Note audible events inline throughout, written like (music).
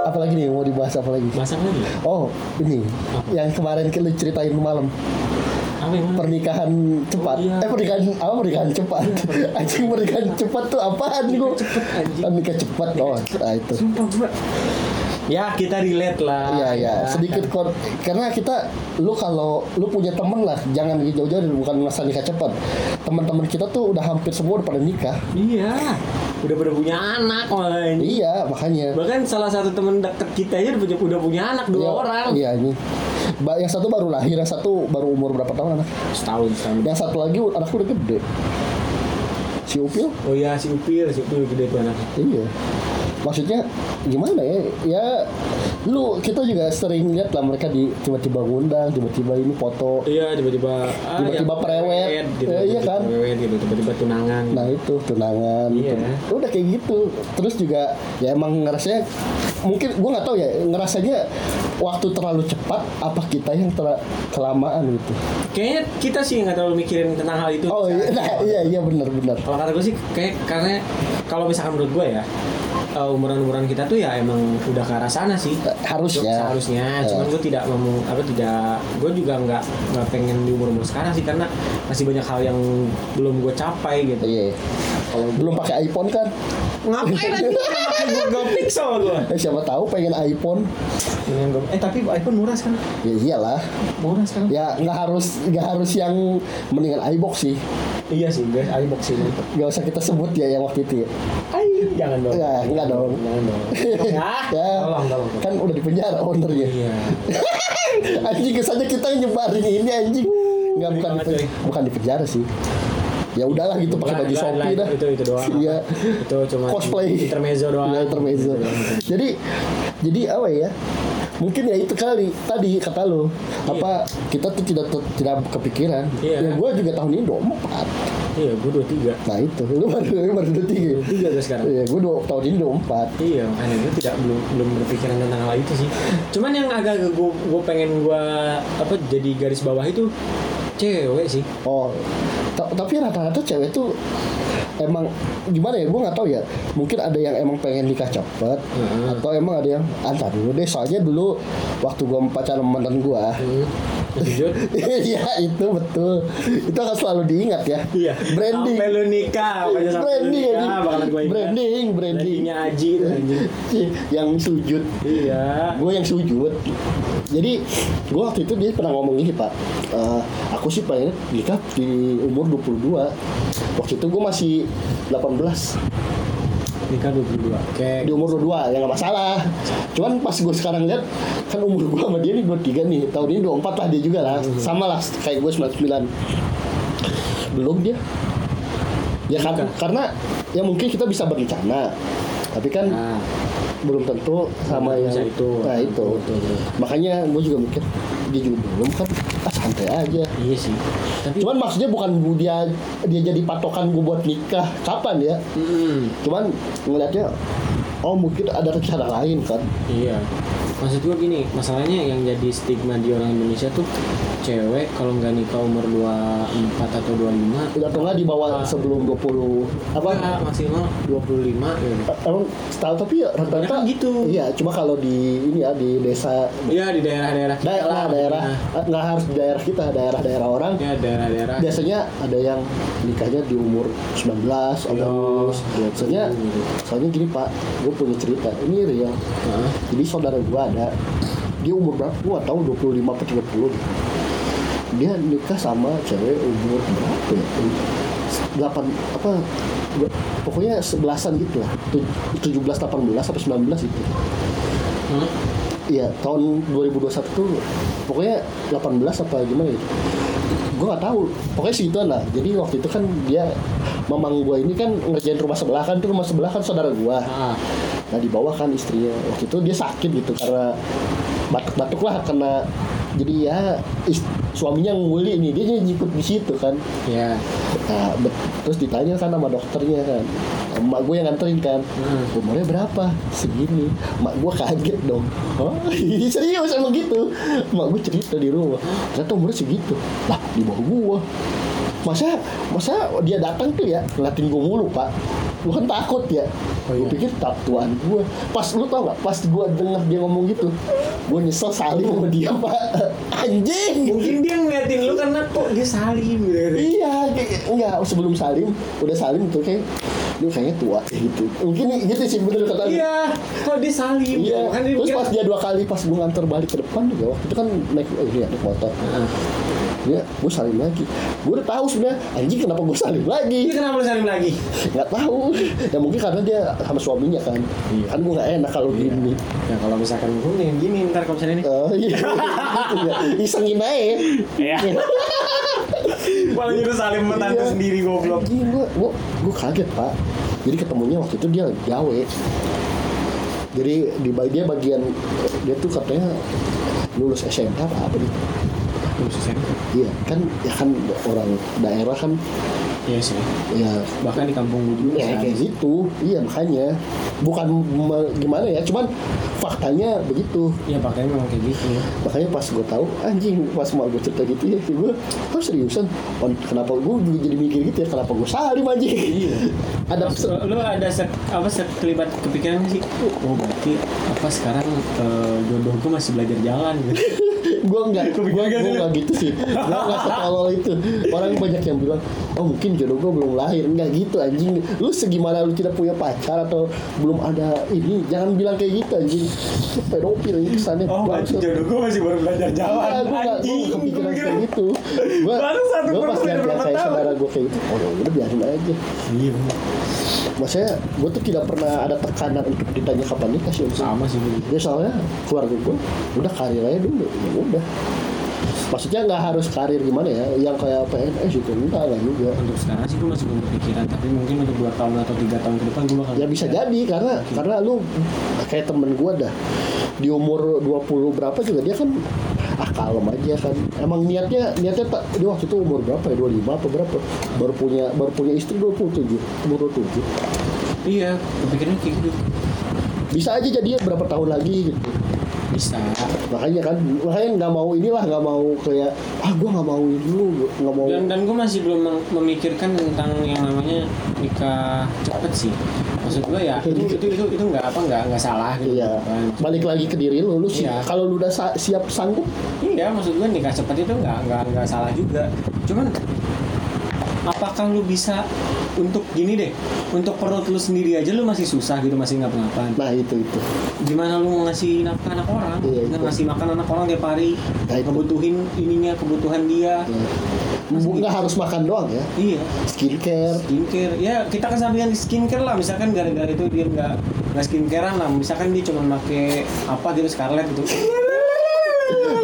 Apalagi nih mau dibahas apa lagi? Bahasa apa lagi? Oh, ini yang kemarin kan lu ceritain malam Apa yang mana? pernikahan cepat. Hmm. iya. Eh pernikahan apa pernikahan cepat? (laughs) anjing pernikahan cepat tuh apaan gua? cepat, anjing. Oh, nikah cepat oh, nah, itu. Sumpah gua. Ya kita relate lah. Iya ya, sedikit kon karena kita lu kalau lu punya temen lah, jangan jauh-jauh dari- bukan masa nikah cepat. Teman-teman kita tuh udah hampir semua udah pada nikah. Iya. Udah pada punya anak man. Iya, makanya. Bahkan salah satu temen deket kita aja udah punya, udah punya anak dua Iya, orang. Iya ini. Ba- Yang satu baru lahir, yang satu baru umur berapa tahun anak? Setahun setahun. Yang satu lagi anakku udah gede. Si Upil? Oh iya si Upir, si Upir gede tuh anaknya. Iya. Maksudnya gimana ya? Ya lu kita juga sering lihat lah mereka di tiba-tiba ngundang, tiba-tiba ini foto. Iya tiba-tiba ah, Tiba-tiba ya, prewed. gitu, Eh, iya tiba-tiba kan? prewed gitu, tiba-tiba tunangan Nah itu tunangan Iya. gitu. Udah kayak gitu Terus juga ya emang ngerasanya Mungkin gue nggak tahu ya Ngerasanya waktu terlalu cepat Apa kita yang ter- kelamaan gitu kayaknya kita sih nggak terlalu mikirin tentang hal itu Oh iya nah, iya, iya bener-bener kalau kata gue sih kayak karena kalau misalkan menurut gue ya umuran umuran kita tuh ya emang udah ke arah sana sih Eh, harusnya. seharusnya Eh. cuman gue tidak mau apa tidak gue juga nggak nggak pengen di umur umur sekarang sih karena masih banyak hal yang belum gue capai gitu Iya Kalau belum pakai iPhone kan (laughs) ngapain aja pakai Google Pixel gue eh, Siapa tahu pengen iPhone eh tapi iPhone murah sekarang Ya iyalah murah sekarang Ya nggak harus nggak harus yang Mendingan iBox sih iya sih guys iBox ini Gak usah kita sebut ya yang waktu itu ya Ay, jangan dong Ya nggak dong jangan dong (laughs) Ya. tolong tolong Kan udah di penjara ownernya iya anjing kesannya kita nyebarin ini anjing nggak bukan di, banget, pen- bukan di penjara sih ya udahlah gitu pakai Lah, baju lah, sopi lah, dah itu itu doang iya itu cuma cosplay intermezzo doang Iya, intermezzo jadi jadi apa ya mungkin ya itu kali tadi kata lo apa kita tuh tidak tidak kepikiran Iya. ya gue juga tahun ini 24 iya gue dua tiga nah itu lu baru lu baru udah tiga dua tiga gue sekarang ya gue tahun ini 24 Iya, makanya gue tidak belum belum berpikiran tentang hal itu sih. Cuman yang agak gue gue pengen gue apa jadi garis bawah itu cewek sih. Oh, ta- tapi rata-rata cewek tuh emang gimana ya? Gue nggak tahu ya. Mungkin ada yang emang pengen nikah cepet, Heeh. atau emang ada yang antar dulu deh. Soalnya dulu waktu gue pacaran sama mantan gue, Hmm. Jujur. (laughs) iya itu betul. Itu akan selalu diingat ya. Iya. Branding. Sampai lu nikah, pokoknya sampai lu Branding, nikah, anjing. bakalan gue ingat. branding, branding, Brandingnya Aji itu anjing. (laughs) yang sujud. Iya. Gue yang sujud. Jadi gue waktu itu dia pernah ngomong gini pak, Eh, aku sih pengen nikah di umur 22. Waktu itu gue masih 18 Nikah 22. Oke. di umur 22 ya nggak masalah. Cuman pas gue sekarang lihat kan umur gue sama dia nih 23 nih, tahun ini 24 lah dia juga lah, Hmm. sama lah kayak gue 99. Belum dia. Ya kan, Bukan. karena ya mungkin kita bisa berencana. Tapi kan Nah, belum tentu sama Belum yang bisa itu. nah itu Betul, betul. makanya gue juga mikir dia juga belum kan ah, santai aja iya sih. Tapi cuman maksudnya bukan gua- dia dia jadi patokan gue buat nikah kapan ya Mm-mm. cuman ngelihatnya oh mungkin ada rencana lain kan Iya. Maksud gue gini, masalahnya yang jadi stigma di orang Indonesia tuh cewek kalau nggak nikah umur 24 atau 25 udah tengah di bawah Ah. sebelum 20 apa apa maksimal 25 ya. udah. emang tahu tapi ya rata-rata Kebanyakan gitu. iya cuma kalau di ini ya di desa Iya di daerah-daerah kita lah, daerah daerah nah. eh, nggak harus di daerah kita daerah-daerah orang Ya daerah-daerah. biasanya ada yang nikahnya di umur 19 atau Iya, iya, soalnya gitu. soalnya gini pak gue punya cerita ini real Heeh. jadi saudara gue ada dia umur berapa gue tahu 25 atau 30 gitu. dia nikah sama cewek umur berapa ya 8 apa dua- pokoknya sebelasan gitu lah Tu- 17 18 sampai 19 gitu Heeh. Iya, tahun 2021 tuh pokoknya ya? 18 apa gimana gitu. Gue gak tahu. Pokoknya segituan lah. Jadi waktu itu kan dia mamang gue ini kan ngerjain rumah sebelah kan tuh rumah sebelah kan saudara gue Ah, nah dibawa kan istrinya waktu itu dia sakit gitu karena batuk-batuk lah karena jadi ya is- suaminya nguli nih dia jadi ikut di situ kan ya. Nah, bet- terus ditanya kan sama dokternya kan emak gue yang nganterin kan Hmm. umurnya berapa segini emak gue kaget dong oh (laughs) serius emang gitu emak gue cerita di rumah ternyata umurnya segitu lah di bawah gue masa masa dia datang tuh ya ngeliatin gue mulu pak gue kan takut ya Oh, gue iya. pikir tak tuan gue pas lu tau gak pas gue denger dia ngomong gitu gue nyesel saling sama dia pak (laughs) anjing Mungkin dia ngeliatin lu karena kok dia salim gitu. Iya, kayak- enggak sebelum salim, udah salim tuh kayak lu kayaknya tua gitu. Mungkin gitu sih bener kata lu. Iya, kok dia salim. gitu. Iya. Makanya dia Terus mikir, pas dia dua kali pas gua nganter balik ke depan juga waktu itu kan naik eh, ini ada motor. Ah. Ya, gua salim lagi. Gua udah tahu sebenarnya anjing kenapa gua salim lagi. Dia Iya, kenapa lu salim lagi? Nggak tahu. Ya mungkin karena dia sama suaminya kan. Iya. Kan gua nggak enak kalau gini. Ya kalau misalkan gue nih gini ntar kalau misalnya ini. Eh, (laughs) iya. Isengin aja. Iya. Malah nyuruh salim sama tante Iya. sendiri goblok. Anjing gua, gua, gua kaget pak. Jadi ketemunya waktu itu dia gawe. Jadi di ba- dia bagian dia tuh katanya lulus SMK apa apa gitu. Iya kan ya kan orang daerah kan Iya sih. ya Bahkan di kampung gue juga. ya kayak gitu. Iya makanya bukan me- gimana ya cuman faktanya begitu Iya pakainya memang kayak gitu. makanya pas gue tahu anjing pas mau gue cerita gitu ya gue oh seriusan Oh, kenapa gue juga jadi mikir gitu ya kenapa gue salim anjing (laughs) ada Terus, pes- lu ada se apa se terlibat kepikiran nggak sih? Oh berarti apa sekarang eh, jodoh gue masih belajar jalan gitu. gue enggak gue Kepikiran gak sih lu? enggak gitu sih gue enggak setolol itu orang banyak yang bilang oh mungkin jodoh gue belum lahir enggak gitu anjing lu segimana lu tidak punya pacar atau belum ada ini jangan bilang kayak gitu anjing lu pedofil ini kesannya (laughs) Oh berarti Bangsat. jodoh gue masih baru belajar jalan. Iya, gua gak, Anjing. gua kepikiran Gua kayak kira- gitu Gua, Baru satu gua pas persen lihat berapa kayak tahun. saudara gue kayak gitu Oh ya udah biarin aja Iya. Maksudnya gue tuh tidak pernah ada tekanan untuk ditanya kapan nikah sih Om. Sama sih gue. Ya soalnya keluarga gue udah karir aja dulu Ya udah Maksudnya nggak harus karir gimana ya Yang kayak PNS itu enggak lah juga Untuk sekarang sih gue masih belum kepikiran, tapi mungkin untuk 2 tahun atau 3 tahun ke depan gue bakal Ya bisa jadi karena karena lu kayak temen gue dah di umur 20 berapa juga dia kan ah kalem aja kan emang niatnya niatnya tak dia waktu itu umur berapa ya 25 apa berapa baru punya baru punya istri 27 umur 27 Iya, kepikiran kayak gitu bisa aja jadi ya berapa tahun lagi gitu Bisa makanya kan makanya nggak mau inilah nggak mau kayak ah gua nggak mau ini dulu nggak mau Dan, dan gue masih belum meng- memikirkan tentang yang namanya nikah cepet sih Maksud gue ya, itu itu itu, itu nggak apa nggak nggak salah gitu iya kan. balik lagi ke diri lu lu sih Iya. kalau lu udah sa- siap sanggup Iya, maksud gue nikah cepet itu nggak nggak nggak salah juga Cuman apakah lu bisa untuk gini deh untuk perut lu sendiri aja lu masih susah gitu masih nggak ngapa-ngapain nah itu itu gimana lu mau ngasih nafkah anak orang Iya, nggak itu. ngasih makan anak orang tiap hari Nah, itu. kebutuhin ininya kebutuhan dia Iya. Bu- nggak gitu. harus makan doang ya iya skincare skincare ya kita kesampingan skincare lah misalkan gara-gara itu dia nggak nggak skincarean lah misalkan dia cuma pakai apa gitu Scarlett (laughs) gitu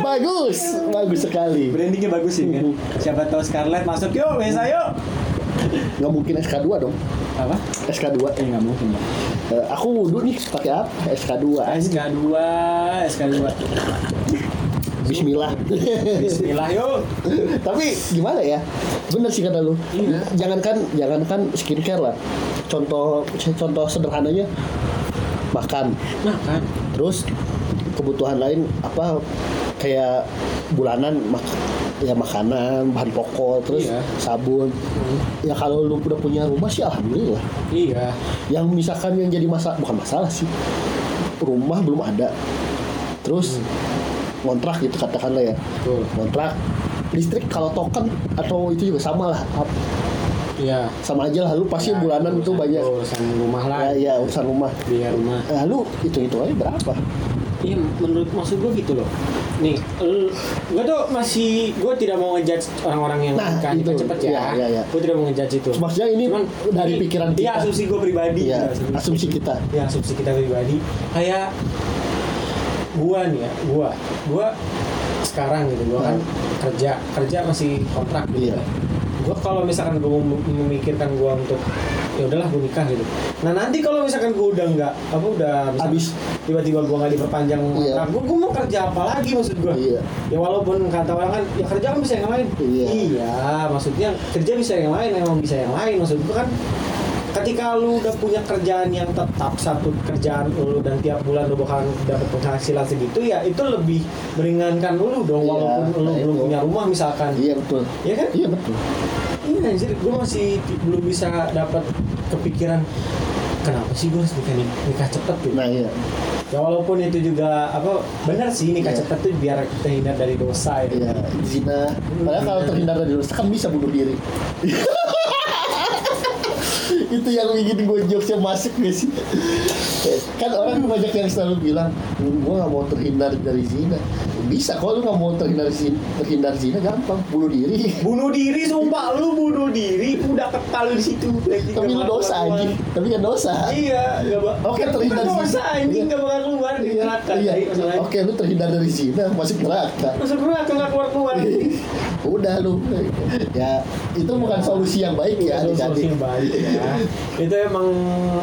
bagus bagus sekali brandingnya bagus sih kan siapa tahu Scarlett masuk yuk bisa yuk nggak mungkin SK2 dong apa SK2 eh nggak mungkin ya Eh, aku wudhu nih pakai apa SK2 SK2 SK2 (laughs) Bismillah Bismillah yuk tapi gimana ya bener sih kata lu Iya. jangankan jangankan skincare lah contoh contoh sederhananya makan nah kan terus kebutuhan lain apa kayak bulanan mak- ya makanan bahan pokok terus Iya. Hmm. sabun ya kalau lu udah punya rumah sih alhamdulillah iya yang misalkan yang jadi masalah bukan masalah sih rumah belum ada terus Hmm. kontrak gitu katakanlah ya Betul. kontrak listrik kalau token atau itu juga sama lah ap- iya sama aja lah lu pasti Ya, bulanan tuh urusan- banyak urusan rumah lah ya, ya urusan rumah biaya rumah lalu itu itu aja berapa Iya, menurut maksud gue gitu loh. Nih, gue tuh masih gue tidak mau ngejudge orang-orang yang Nah, nikah nikah itu. cepet Iya, ya. iya, iya. Gue tidak mau ngejudge itu. Maksudnya ini dari pikiran Iya, kita. asumsi gue pribadi. Iya, ya, asumsi kita. Iya, asumsi kita pribadi. Kayak gua nih ya, gua, gua sekarang gitu, gua kan kerja, kerja masih kontrak gitu. Iya. kan. lo kalau misalkan gue memikirkan gue untuk ya udahlah gue nikah gitu nah nanti kalau misalkan gue udah nggak apa udah misalkan Habis. tiba-tiba gue nggak diperpanjang Iya. kontrak gue gue mau kerja apa lagi maksud gue Iya. ya walaupun kata orang kan ya kerja kan bisa yang lain Iya. iya maksudnya kerja bisa yang lain emang bisa yang lain maksud gue kan ketika lu udah punya kerjaan yang tetap satu kerjaan lu dan tiap bulan lu bakalan dapat penghasilan segitu ya itu lebih meringankan lu dong Iya, walaupun lu nah belum itu. punya rumah misalkan iya betul Iya kan? iya betul Iya anjir, gue masih ti- belum bisa dapat kepikiran kenapa sih gue harus nikah, nikah cepet gitu. nah iya Ya walaupun itu juga apa benar sih nikah Iya. cepet tuh biar kita hindar dari dosa ya. iya zina padahal kalau terhindar dari dosa kan bisa bunuh diri (laughs) itu yang bikin gue jokesnya masuk gak sih kan orang banyak yang selalu bilang gue gak mau terhindar dari zina bisa kalau lu gak mau terhindar zina, terhindar zina gampang bunuh diri Bunuh diri sumpah lu bunuh diri udah kepal di situ. Lagi tapi lu nggak dosa keluar-keluar. anjing tapi kan dosa Iya, enggak bak. Oke, terhindar sih. dosa anjing Iya. enggak bakal keluar kan? di neraka. iya. tai, masalahnya. oke lu terhindar dari zina masuk neraka Masuk neraka nggak keluar keluar. Iya, Iya, udah lu ya itu bukan solusi yang baik ya Iya, adik-adik yang baik ya. itu emang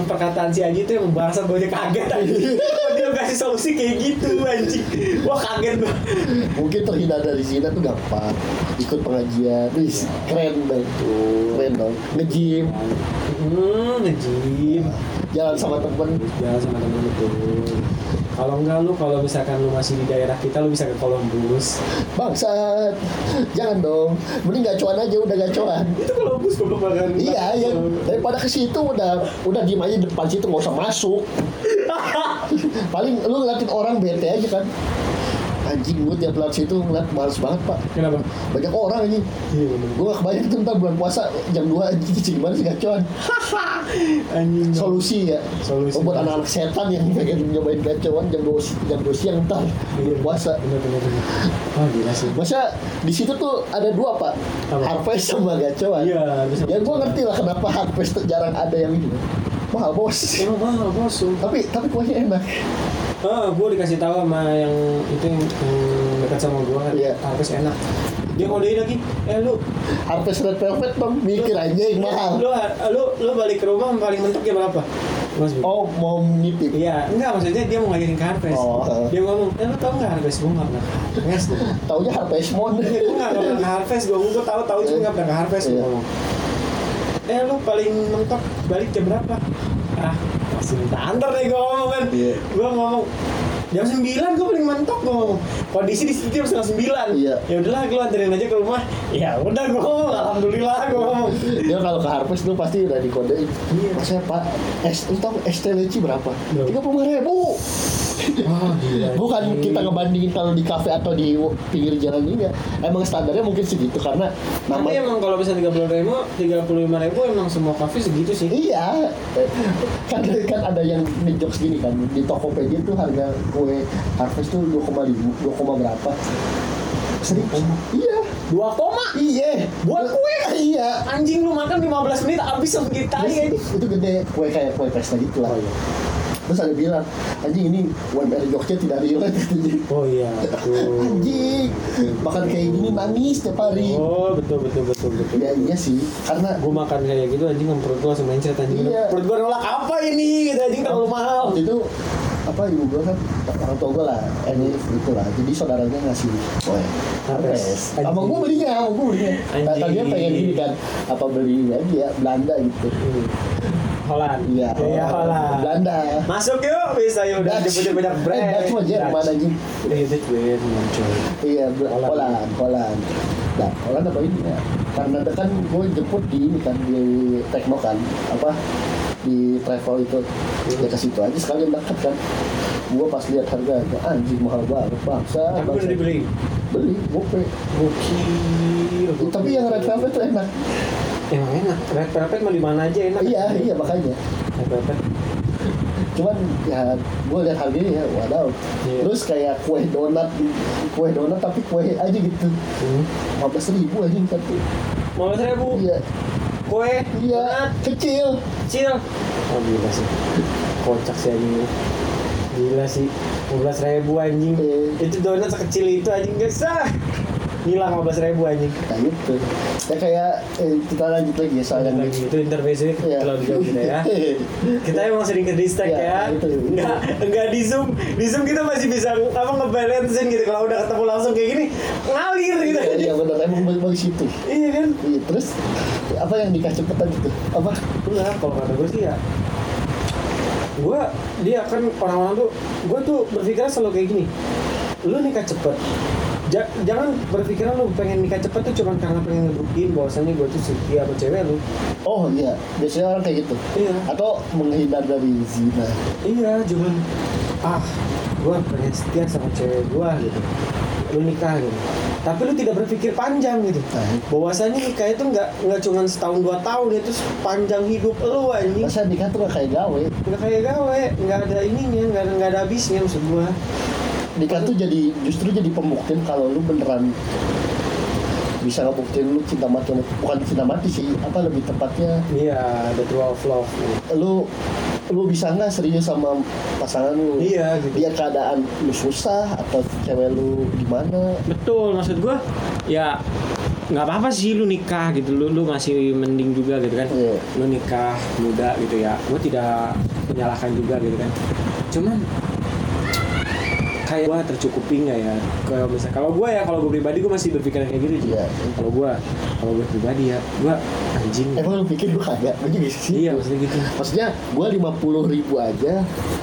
perkataan si Aji itu yang bahasa gue aja kaget anjing. Kok dia kasih solusi kayak gitu anjing. Wah kaget banget. mungkin terhindar dari zina tuh gampang ikut pengajian wis keren dong keren dong ngejim Hmm, ngejim. jalan sama temen Jalan Iya, sama temen itu. Kalau enggak lu kalau misalkan lu masih di daerah kita lu bisa ke Columbus. bangsat jangan dong mending gacuan aja udah gacuan Itu Columbus gue kemarin. iya ya daripada ke situ udah udah diem aja di depan situ nggak usah masuk (laughs) paling lu ngeliatin orang bete aja kan anjing gue tiap lewat situ ngeliat males banget pak Kenapa? banyak orang anjing Iya bener. gue gak kebayang tuh ntar bulan puasa jam 2 (laughs) anjing cing gimana sih gacuan Anjing. solusi ya Solusi. buat anak-anak setan yang (laughs) pengen nyobain gacuan jam 2 jam 2 siang ntar bulan puasa Bener bener bener. Oh gila sih. masa di situ tuh ada dua pak Apa? harvest sama gacuan Iya, bisa. ya gue ngerti lah kenapa harvest tuh jarang ada yang ini mahal bos Emang mahal bos, Oh, sumpah. tapi tapi kuahnya enak Oh, gue dikasih tahu sama yang itu yang, yang dekat sama gue kan, Iya. harus enak. Dia ngodein lagi, eh lu, harvest red velvet bang mikir aja yang mahal lu, lu, lu balik ke rumah paling mentok jam berapa? Mas, Bu. oh mau nitip Iya, enggak maksudnya dia mau ngajarin ke Harvest. Oh, eh. Dia ngomong, eh lu tau nggak Harvest? Gue nggak pernah ke (laughs) Harvest. taunya harvest mon Iya, gue nggak pernah ke Harvest. Gue gue tahu tahu cuma nggak pernah ke Harvest. Gue Iya. ngomong, eh lu paling mentok balik jam berapa? Ah, masih minta antar nih gue ngomong kan. Iya. Gue ngomong jam 9 gue paling mentok gue ngomong kondisi di situ jam setengah sembilan Iya. ya udahlah gue anterin aja ke rumah ya udah gue ngomong alhamdulillah gue (laughs) ngomong dia kalau ke harvest tuh pasti udah dikodein Iya. masnya pak es lu tau es teh leci berapa Berapa? tiga puluh ribu Ah, Iya. bukan kita ngebandingin kalau di kafe atau di w- pinggir jalan ini ya emang standarnya mungkin segitu karena nama tapi emang kalau bisa tiga puluh ribu tiga puluh lima ribu emang semua kafe segitu sih Iya, kan kan ada yang di jokes gini kan di Tokopedia tuh harga kue harvest tuh 2,5 2, koma berapa? Seribu? Iya, dua koma iya. Oh. Buat kue? Iya. anjing lu makan 15 menit habis sama kita ya Terus itu gede kue kayak kue pesta gitu Oh lah. iya. Terus ada bilang, anjing ini UMR Jogja tidak real katanya. oh iya betul (laughs) Anjing, makan kayak gini nangis tiap hari. oh betul betul betul betul Ya iya sih, karena gue makan kayak gitu anjing sama perut gue langsung mencret anjing Iya. perut gue nolak apa ini gitu anjing terlalu mahal waktu itu apa ibu gue kan orang tua gue lah ini gitu lah jadi saudaranya ngasih kue Harvest. harvest sama gue belinya sama gue belinya nah, Anjing. tadinya pengen gini kan apa beli aja ya, Belanda gitu Holland iya Hmm. iya Holland Belanda Masuk yuk bisa yuk udah Dutch. nyebut banyak brand. Eh, Dutch mah Jerman aja Eh, Dutch brand muncul. iya Bel- Holland. Holland Holland nah Holland apa ini ya karena ada kan gue jemput di ini kan di Tekno kan apa di travel itu ya ke situ aja sekalian dekat kan gue pas lihat harga anjing mahal banget bangsa Tapi bangsa. udah dibeli. beli gope Gokil. tapi yang red velvet tuh enak Emang enak. Red velvet mau di mana aja enak. iya iya makanya Red velvet. cuman ya gue lihat harganya ya wadaw Iya. terus kayak kue donat kue donat tapi kue aja gitu Hmm. 15 ribu aja tapi Mau seribu. iya Kue. iya donat, kecil Cil. Oh gila sih. Kocak sih anjing. ini. Gila sih. 15 ribu anjing. Iya. Itu donat sekecil itu anjing guys. Ah. hilang 15 ribu anjing Nah gitu. Ya kayak eh, kita lanjut lagi ya soal yang Lagi di- itu intervensi ini (laughs) Iya. terlalu jauh kita ya kita emang sering ke distract Iya, ya itu. nggak nggak di zoom di zoom kita masih bisa apa ngebalancein gitu kalau udah ketemu langsung kayak gini ngalir gitu Iya, Iya benar emang bagi bagi situ. iya kan Iya, terus apa yang dikasih peta gitu? Apa? Enggak, kalau kata gue sih ya gue dia kan orang-orang tuh gue tuh berpikiran selalu kayak gini lu nikah cepet Ja- jangan berpikiran lu pengen nikah cepet tuh cuma karena pengen ngebuktiin bahwasannya gue tuh setia sama cewek lu Oh iya, biasanya orang kayak gitu. Iya. Atau menghindar dari zina. iya cuman ah gue pengen setia sama cewek gue gitu lu nikah gitu tapi lu tidak berpikir panjang gitu Nah, bahwasannya nikah itu nggak nggak cuma setahun dua tahun itu sepanjang hidup lu anjing masa nikah tuh gak kayak gawe. nggak kayak gawe nggak ada ininya nggak ada- nggak ada habisnya maksud gua Nikah tuh jadi justru jadi pembuktian kalau lu beneran bisa ngebuktiin lu cinta mati bukan cinta mati sih apa lebih tepatnya iya the true of love lu lu bisa nggak serius sama pasangan lu iya gitu biar keadaan lu susah atau cewek lu gimana Betul, maksud gua ya nggak apa-apa sih lu nikah gitu lu lu masih mending juga gitu kan Iya. lu nikah muda gitu ya gua tidak menyalahkan juga gitu kan cuman kayak gua tercukupi nggak ya kalau misal kalau gua ya kalau gua pribadi gua masih berpikiran kayak gitu juga Iya. kalau gua kalau gua pribadi ya gua anjing emang lu pikir gua kagak gua juga sih iya maksudnya gitu maksudnya gua 50 ribu aja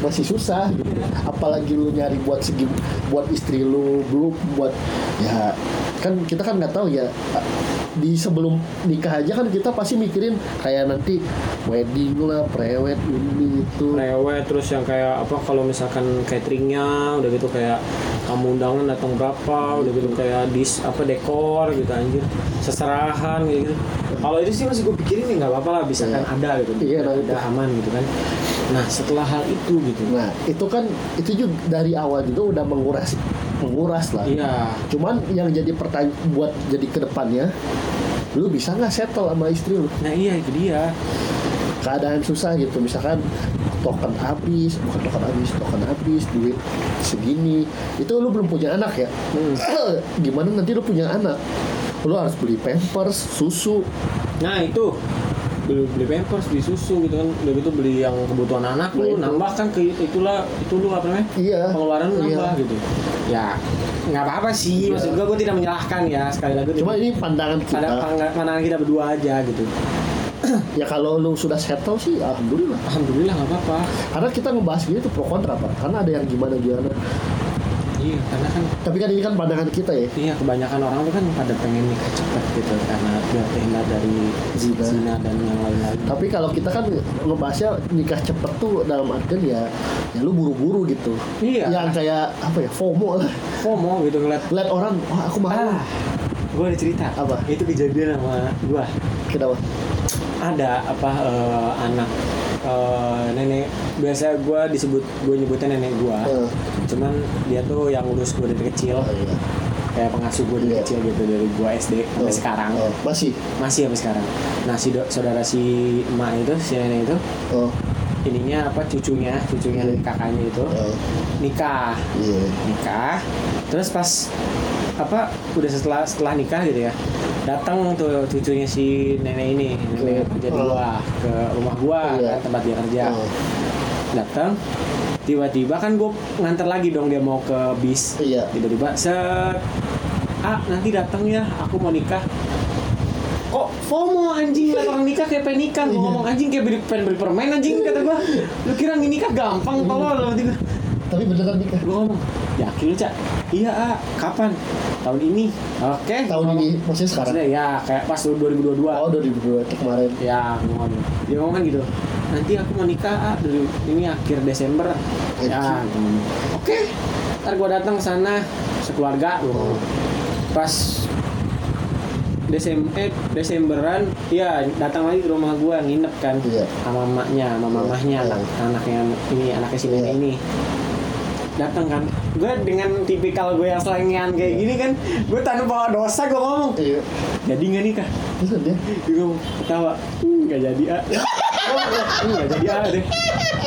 masih susah gitu. apalagi lu nyari buat segi buat istri lu belum buat ya kan kita kan nggak tahu ya di sebelum nikah aja kan kita pasti mikirin kayak nanti wedding lah prewed ini itu rewet terus yang kayak apa kalau misalkan cateringnya udah gitu kayak kamu undangan datang berapa udah gitu kayak dis apa dekor gitu anjir seserahan gitu kalau itu sih masih gue pikirin ya nggak apa-apa lah bisa kan Iya. ada gitu Iya, ada, ada. ada aman gitu kan nah setelah hal itu gitu nah itu kan itu juga dari awal juga udah menguras menguras lah iya Cuman yang jadi pertanyaan buat jadi kedepannya, lu bisa nggak settle sama istri lu? nah iya itu dia Keadaan susah gitu, misalkan token habis, bukan token habis, token habis, duit segini, itu lu belum punya anak ya? Hmm. (clears throat) Gimana nanti lu punya anak? Lu harus beli pampers, susu, nah itu beli, beli pampers beli susu gitu kan udah gitu beli yang kebutuhan anak Nah, itu. lu nambah kan ke itulah itu lu apa namanya iya. pengeluaran iya. nambah gitu ya nggak apa-apa sih Iya. maksud gua gua tidak menyalahkan ya sekali lagi Cuma ini pandangan kita. ada pang- pandangan kita berdua aja gitu Ya kalau lu sudah settle sih, alhamdulillah. alhamdulillah nggak apa-apa Karena kita ngebahas gini tuh pro kontra, Pak. Karena ada yang gimana gimana. iya karena kan Tapi kan ini kan pandangan kita ya. iya kebanyakan orang tuh kan pada pengen nikah cepat gitu karena dia terhindar dari Zina. zina, dan yang lain-lain Tapi kalau kita kan ngebahasnya nikah cepet tuh dalam artian ya, ya lu buru-buru gitu. Iya. Yang kayak apa ya FOMO lah. FOMO gitu ngeliat Lihat orang, wah aku mau. ah gue ada cerita Apa? itu kejadian sama gua Kenapa? ada apa eh, anak eh, nenek biasa gua disebut gue nyebutnya nenek gua Eh. cuman dia tuh yang ngurus gue dari kecil Oh, iya. kayak pengasuh gue dari Iya. kecil gitu dari gue SD sampai Oh, sekarang oh, masih. masih sampai sekarang nah si do- saudara si emak itu si nenek itu Oh, ininya apa cucunya cucunya Iya. kakaknya itu oh, nikah iya. nikah terus pas apa udah setelah setelah nikah gitu ya datang tuh cucunya si nenek ini nenek yang kerja di Oh. luar ke rumah gua Iya. ke tempat dia kerja Oh, datang tiba-tiba kan gue nganter lagi dong dia mau ke bis Iya. tiba-tiba set ah nanti datang ya aku mau nikah kok FOMO anjing liat orang nikah kayak pengen nikah Iya. gue ngomong anjing kayak beli- pengen beli permen anjing kata gue lu kira nikah gampang tolol tiba Tapi beneran nikah. gue ngomong yakin lu cak iya ah kapan tahun ini oke Tahun ini maksudnya sekarang. Maksudnya ya kayak pas 2022 Oh, 2022 tuh kemarin. ya aku ngomong dia ngomong kan gitu nanti aku mau nikah ah, dari ini akhir Desember ya aku ngomong. oke ntar gua datang ke sana sekeluarga gua ngomong. pas Desem eh, Desemberan ya datang lagi ke rumah gua nginep kan Iya. sama mamanya sama Iya. mamahnya anak anaknya ini anaknya si nenek Iya. ini datang kan gue dengan tipikal gue yang selengean kayak gini kan gue tanpa dosa gue ngomong Iya. jadi nggak nikah Terus dia Gue ketawa "Hmm, nggak jadi ah Enggak jadi ada deh.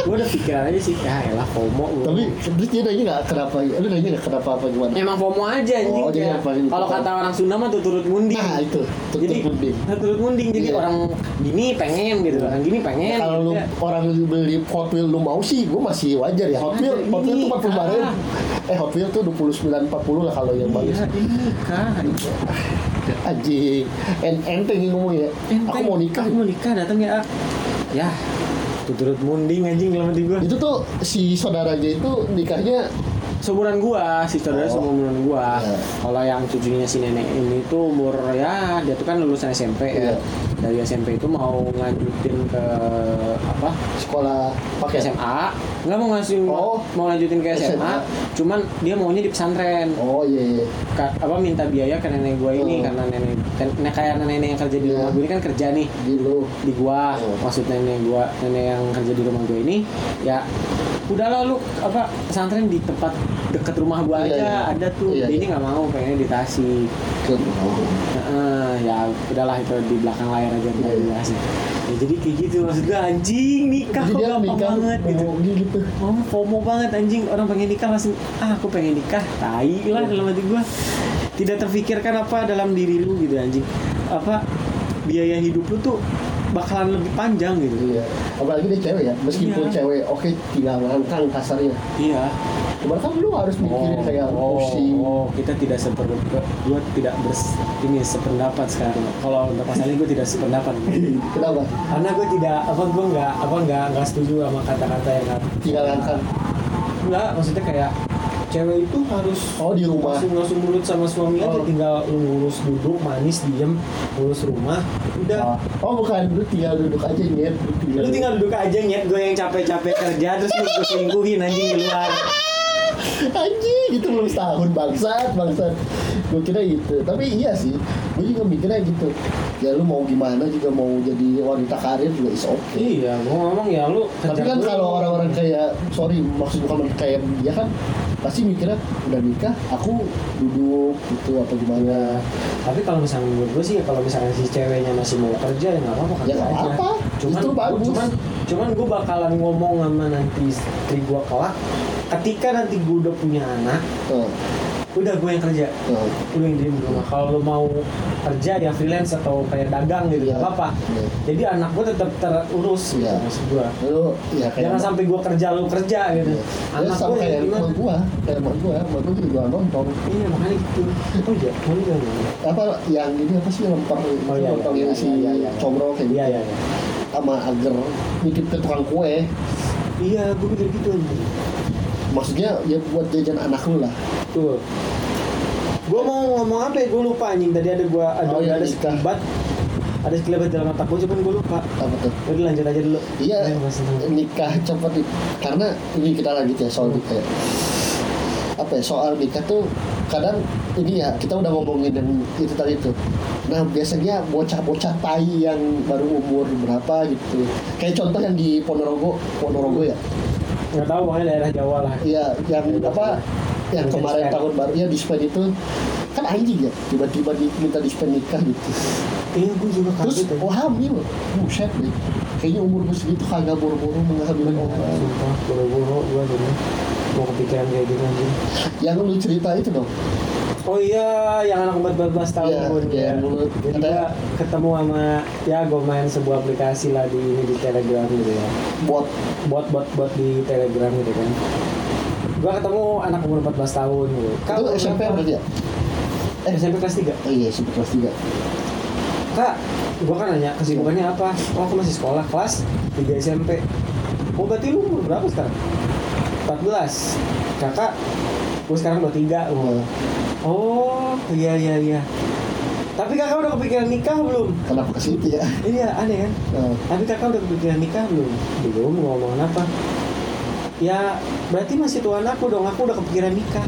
Gue udah pikiran aja sih, ya elah FOMO gua. Tapi terus dia nanya nggak kenapa? Lu nanya nggak kenapa apa gimana? Emang FOMO aja anjing Oh, jadi ya. apa ini? Kalau kata orang Sunda mah tuh turut munding. Nah itu tutup jadi munding. nah, turut munding. Jadi Iya. orang gini pengen gitu, orang gini pengen. Kalau gitu lu ya. orang lu beli Hot Wheel lu mau sih, gue masih wajar ya. Hot Wheel, Wajar, Hot Wheel ini, tuh 40 kemarin. ah. Eh Hot Wheel tuh 29 40 lah kalau yang bagus. Iya, ini kah? Iya. Anjing, en enteng yang ngomong ya. Aku mau nikah. Aku mau nikah datang ya. Ah. Ya, tuh turut munding anjing lama di gua. Itu tuh si saudaranya itu nikahnya Seumuran gua, si saudara Oh. seumuran gua. Iya. Kalau yang cucunya si nenek ini tuh umur ya dia tuh kan lulusan SMP Iya. ya. Dari SMP itu mau lanjutin ke apa? sekolah Ke pakai SMA. Nggak mau ngasih Iya. Oh. mau lanjutin ke SMA, SMA. cuman dia maunya di pesantren. Oh iya iya. Ka- apa minta biaya ke nenek gua ini Hmm. karena nenek ten- nah, kayak nenek yang kerja di Iya. rumah gua ini kan kerja nih Di lu. di gua Oh. maksud nenek gua nenek yang kerja di rumah gua ini ya udahlah lu apa pesantren di tempat dekat rumah gua Iya, aja iya. ada tuh Iya, dia iya. ini nggak mau pengennya di Tasik Ke- oh. Heeh, ya udahlah itu di belakang layar aja Iya, yeah. iya. ya jadi kayak gitu maksud gua anjing nikah Jadi kok dia gampang nikah banget gitu oh, dia gitu. Oh, FOMO banget anjing orang pengen nikah langsung ah aku pengen nikah tai lah dalam hati gua tidak terfikirkan apa dalam diri lu gitu anjing apa biaya hidup lu tuh bakalan lebih panjang gitu Iya. Apalagi dia cewek ya, meskipun Iya. cewek oke tinggal ngangkang kasarnya. iya Cuman kan lu harus mikirin kayak pusing. oh, kita tidak sependapat gua tidak bers ini sependapat sekarang kalau untuk masalah gua tidak (laughs) sependapat Kenapa? karena gue tidak apa gue nggak apa nggak nggak setuju sama kata-kata yang Tinggal ngangkang. nggak maksudnya kayak cewek itu harus Oh, di rumah. langsung langsung nurut sama suami aja Oh. tinggal lu ngurus duduk manis diem ngurus rumah udah Oh bukan, lu tinggal duduk aja nyet. Lu tinggal, lu tinggal duduk aja nyet gue yang capek-capek kerja terus lu gue selingkuhin anjing di luar Anjing, itu belum setahun bangsat, bangsat. Gue kira gitu. Tapi iya sih, gue juga mikirnya gitu. Ya lu mau gimana juga mau jadi wanita karir juga is okay. iya gua ngomong ya lu Iya, Tapi kerja kan dulu. kalau orang-orang kayak, sorry maksud bukan kayak dia kan pasti mikirnya udah nikah, aku duduk gitu apa gimana. tapi kalau misalnya menurut gue sih ya kalau misalnya si ceweknya masih mau kerja ya nggak apa-apa Ya kerja nggak aja. apa-apa, cuman justru bagus. cuman cuman gue bakalan ngomong sama nanti istri gue kelak ketika nanti gue udah punya anak Tuh, udah gue yang kerja tuh. lu yang diem di rumah kalau lu mau kerja ya freelance atau kayak dagang gitu Iya. nggak apa-apa Iya. jadi anak gue tetap terurus gitu Iya. maksud gue Lalu ya kayak jangan sampai gue kerja lu kerja gitu Ya, anak sama gue kayak gimana emak gua, kayak emak gua, emak gua juga nonton. iya makanya gitu oh iya mau nggak mau Apa yang ini apa sih lempeng, Oh, iya, lempeng iya, yang iya, si iya, iya. comro kayak iya gitu. iya iya sama agar nitip ke tukang kue. iya gue pikir gitu anjing. Maksudnya ya buat jajan anak lu lah. Tuh. Gue mau ngomong apa ya? Gue lupa anjing. Tadi ada gue ada Oh, iya, ada nikah. sekelebat. Ada sekelebat dalam otak gue, cuman gue lupa. Apa tuh? Udah lanjut aja dulu. Iya, Ayo, Mas. nikah cepat nih. karena ini kita lanjut ya soal nikah. ya. Apa ya, soal nikah tuh kadang ini ya kita udah ngomongin yang itu tadi tuh. Nah biasanya bocah-bocah tai yang baru umur berapa gitu. Kayak contoh yang di Ponorogo, Ponorogo ya. Nggak tahu pokoknya daerah Jawa lah. Iya, yang apa? Yang Yang kemarin dispen. tahun baru ya dispen itu kan anjing ya tiba-tiba diminta dispen nikah gitu. Iya, gue juga kaget. Terus ya. oh hamil, buset nih. Kayaknya umur gue segitu kagak buru-buru menghamilkan orang. Sumpah, boro-boro gue jadi mau kepikiran kayak gitu anjing. Yang lu cerita itu dong. Oh iya, yang anak umur 14 tahun Iya, pun iya, ya. menurut- Jadi katanya- gua ketemu sama ya gue main sebuah aplikasi lah di ini di Telegram gitu ya. Buat buat buat buat di telegram gitu kan gua ketemu anak umur 14 tahun gitu itu SMP kenapa- berarti ya? eh SMP kelas 3 Oh iya SMP kelas 3 kak gua kan nanya kesibukannya apa oh aku masih sekolah kelas 3 SMP oh berarti lu umur berapa sekarang 14 kakak gua sekarang 23 umur Wah, oh iya iya iya tapi kakak udah kepikiran nikah belum Kenapa ke situ ya? iya aneh kan Nah, Tapi kakak udah kepikiran nikah belum? Belum, mau ngomong apa? Ya, berarti masih tuan aku dong, aku udah kepikiran nikah.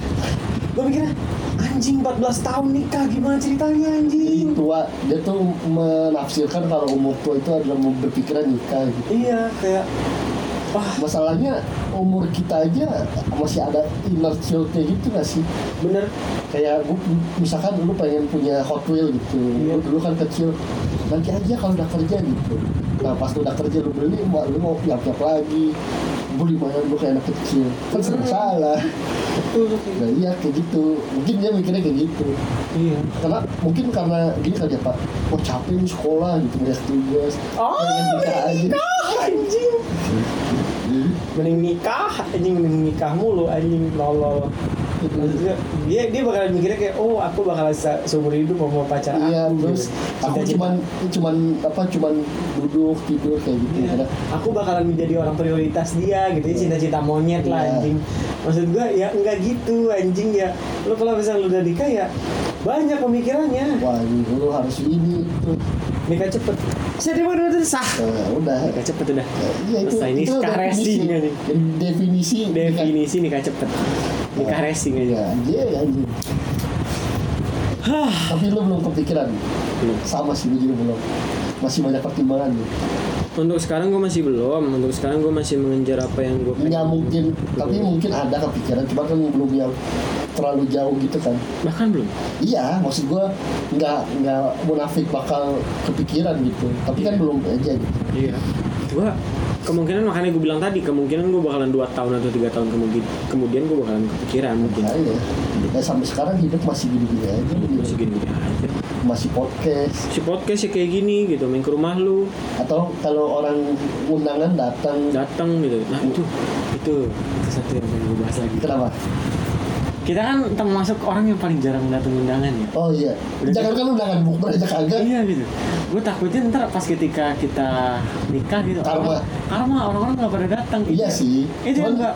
Gue mikirnya, anjing 14 tahun nikah, gimana ceritanya jadi anjing? Eh, tua dia tuh menafsirkan kalau umur tua itu adalah mau berpikiran nikah gitu. Iya, kayak, wah Masalahnya umur kita aja masih ada inner child-nya gitu gak sih? bener. Kayak gua, misalkan dulu pengen punya Hot Wheel gitu. Iya. Dulu kan kecil. Nanti aja kalau udah kerja gitu. nah pas lu udah kerja lu beli emak lu mau nyap nyap lagi beli mainan lu kayak anak kecil kan Hmm. serba salah betul sih. nah iya kayak gitu mungkin dia mikirnya kayak gitu iya karena mungkin karena gini kali ya pak oh capek nih sekolah gitu banyak tugas Oh, pengen nikah aja ah anjing mending nikah anjing mending nikah mulu anjing lolo Maksudnya, dia dia bakalan mikirnya kayak oh aku bakal se- seumur hidup sama pacar iya aku terus gitu. aku Cita-cita. cuman cuman apa cuman duduk tidur kayak gitu Iya. karena aku bakalan menjadi orang prioritas dia gitu ya cinta-cinta monyet lah Iya. anjing maksud gua ya enggak gitu anjing ya lu kalau misalnya lu udah nikah ya banyak pemikirannya wah ini lu harus ini tuh nikah cepet saya terima dulu tuh sah nah, udah Nikah cepet udah. Ya, iya itu Selesai ini itu nikah racing aja. definisi definisi Definisi nikah cepet. Nikah racing aja. ya iya anjing tapi lu belum kepikiran Belum. sama sih gue juga belum masih banyak pertimbangan nih Untuk sekarang gue masih belum. Untuk sekarang gue masih mengejar apa yang gue pengen. nggak mungkin tapi mungkin ada kepikiran cuma kan belum yang terlalu jauh gitu kan Bahkan belum. iya maksud gua nggak nggak munafik bakal kepikiran gitu tapi kan belum aja gitu Iya. Gue kemungkinan makanya gue bilang tadi kemungkinan gue bakalan 2 tahun atau tiga tahun kemudian kemudian gue bakalan kepikiran mungkin Nah, ya. Ya, sampai sekarang hidup masih gini-gini aja masih gitu. gini aja masih podcast si podcast ya kayak gini gitu main ke rumah lu atau kalau orang undangan datang datang gitu nah itu itu itu satu yang pengen gue bahas lagi kenapa kita kan termasuk orang yang paling jarang datang undangan ya oh iya Udah. gitu. jangan kan undangan bukber aja kagak Iya gitu. Gue takutnya ntar pas ketika kita nikah gitu. Karma. orang- Karma orang-orang nggak pada datang. Iya sih. Itu Cuman- yang nggak.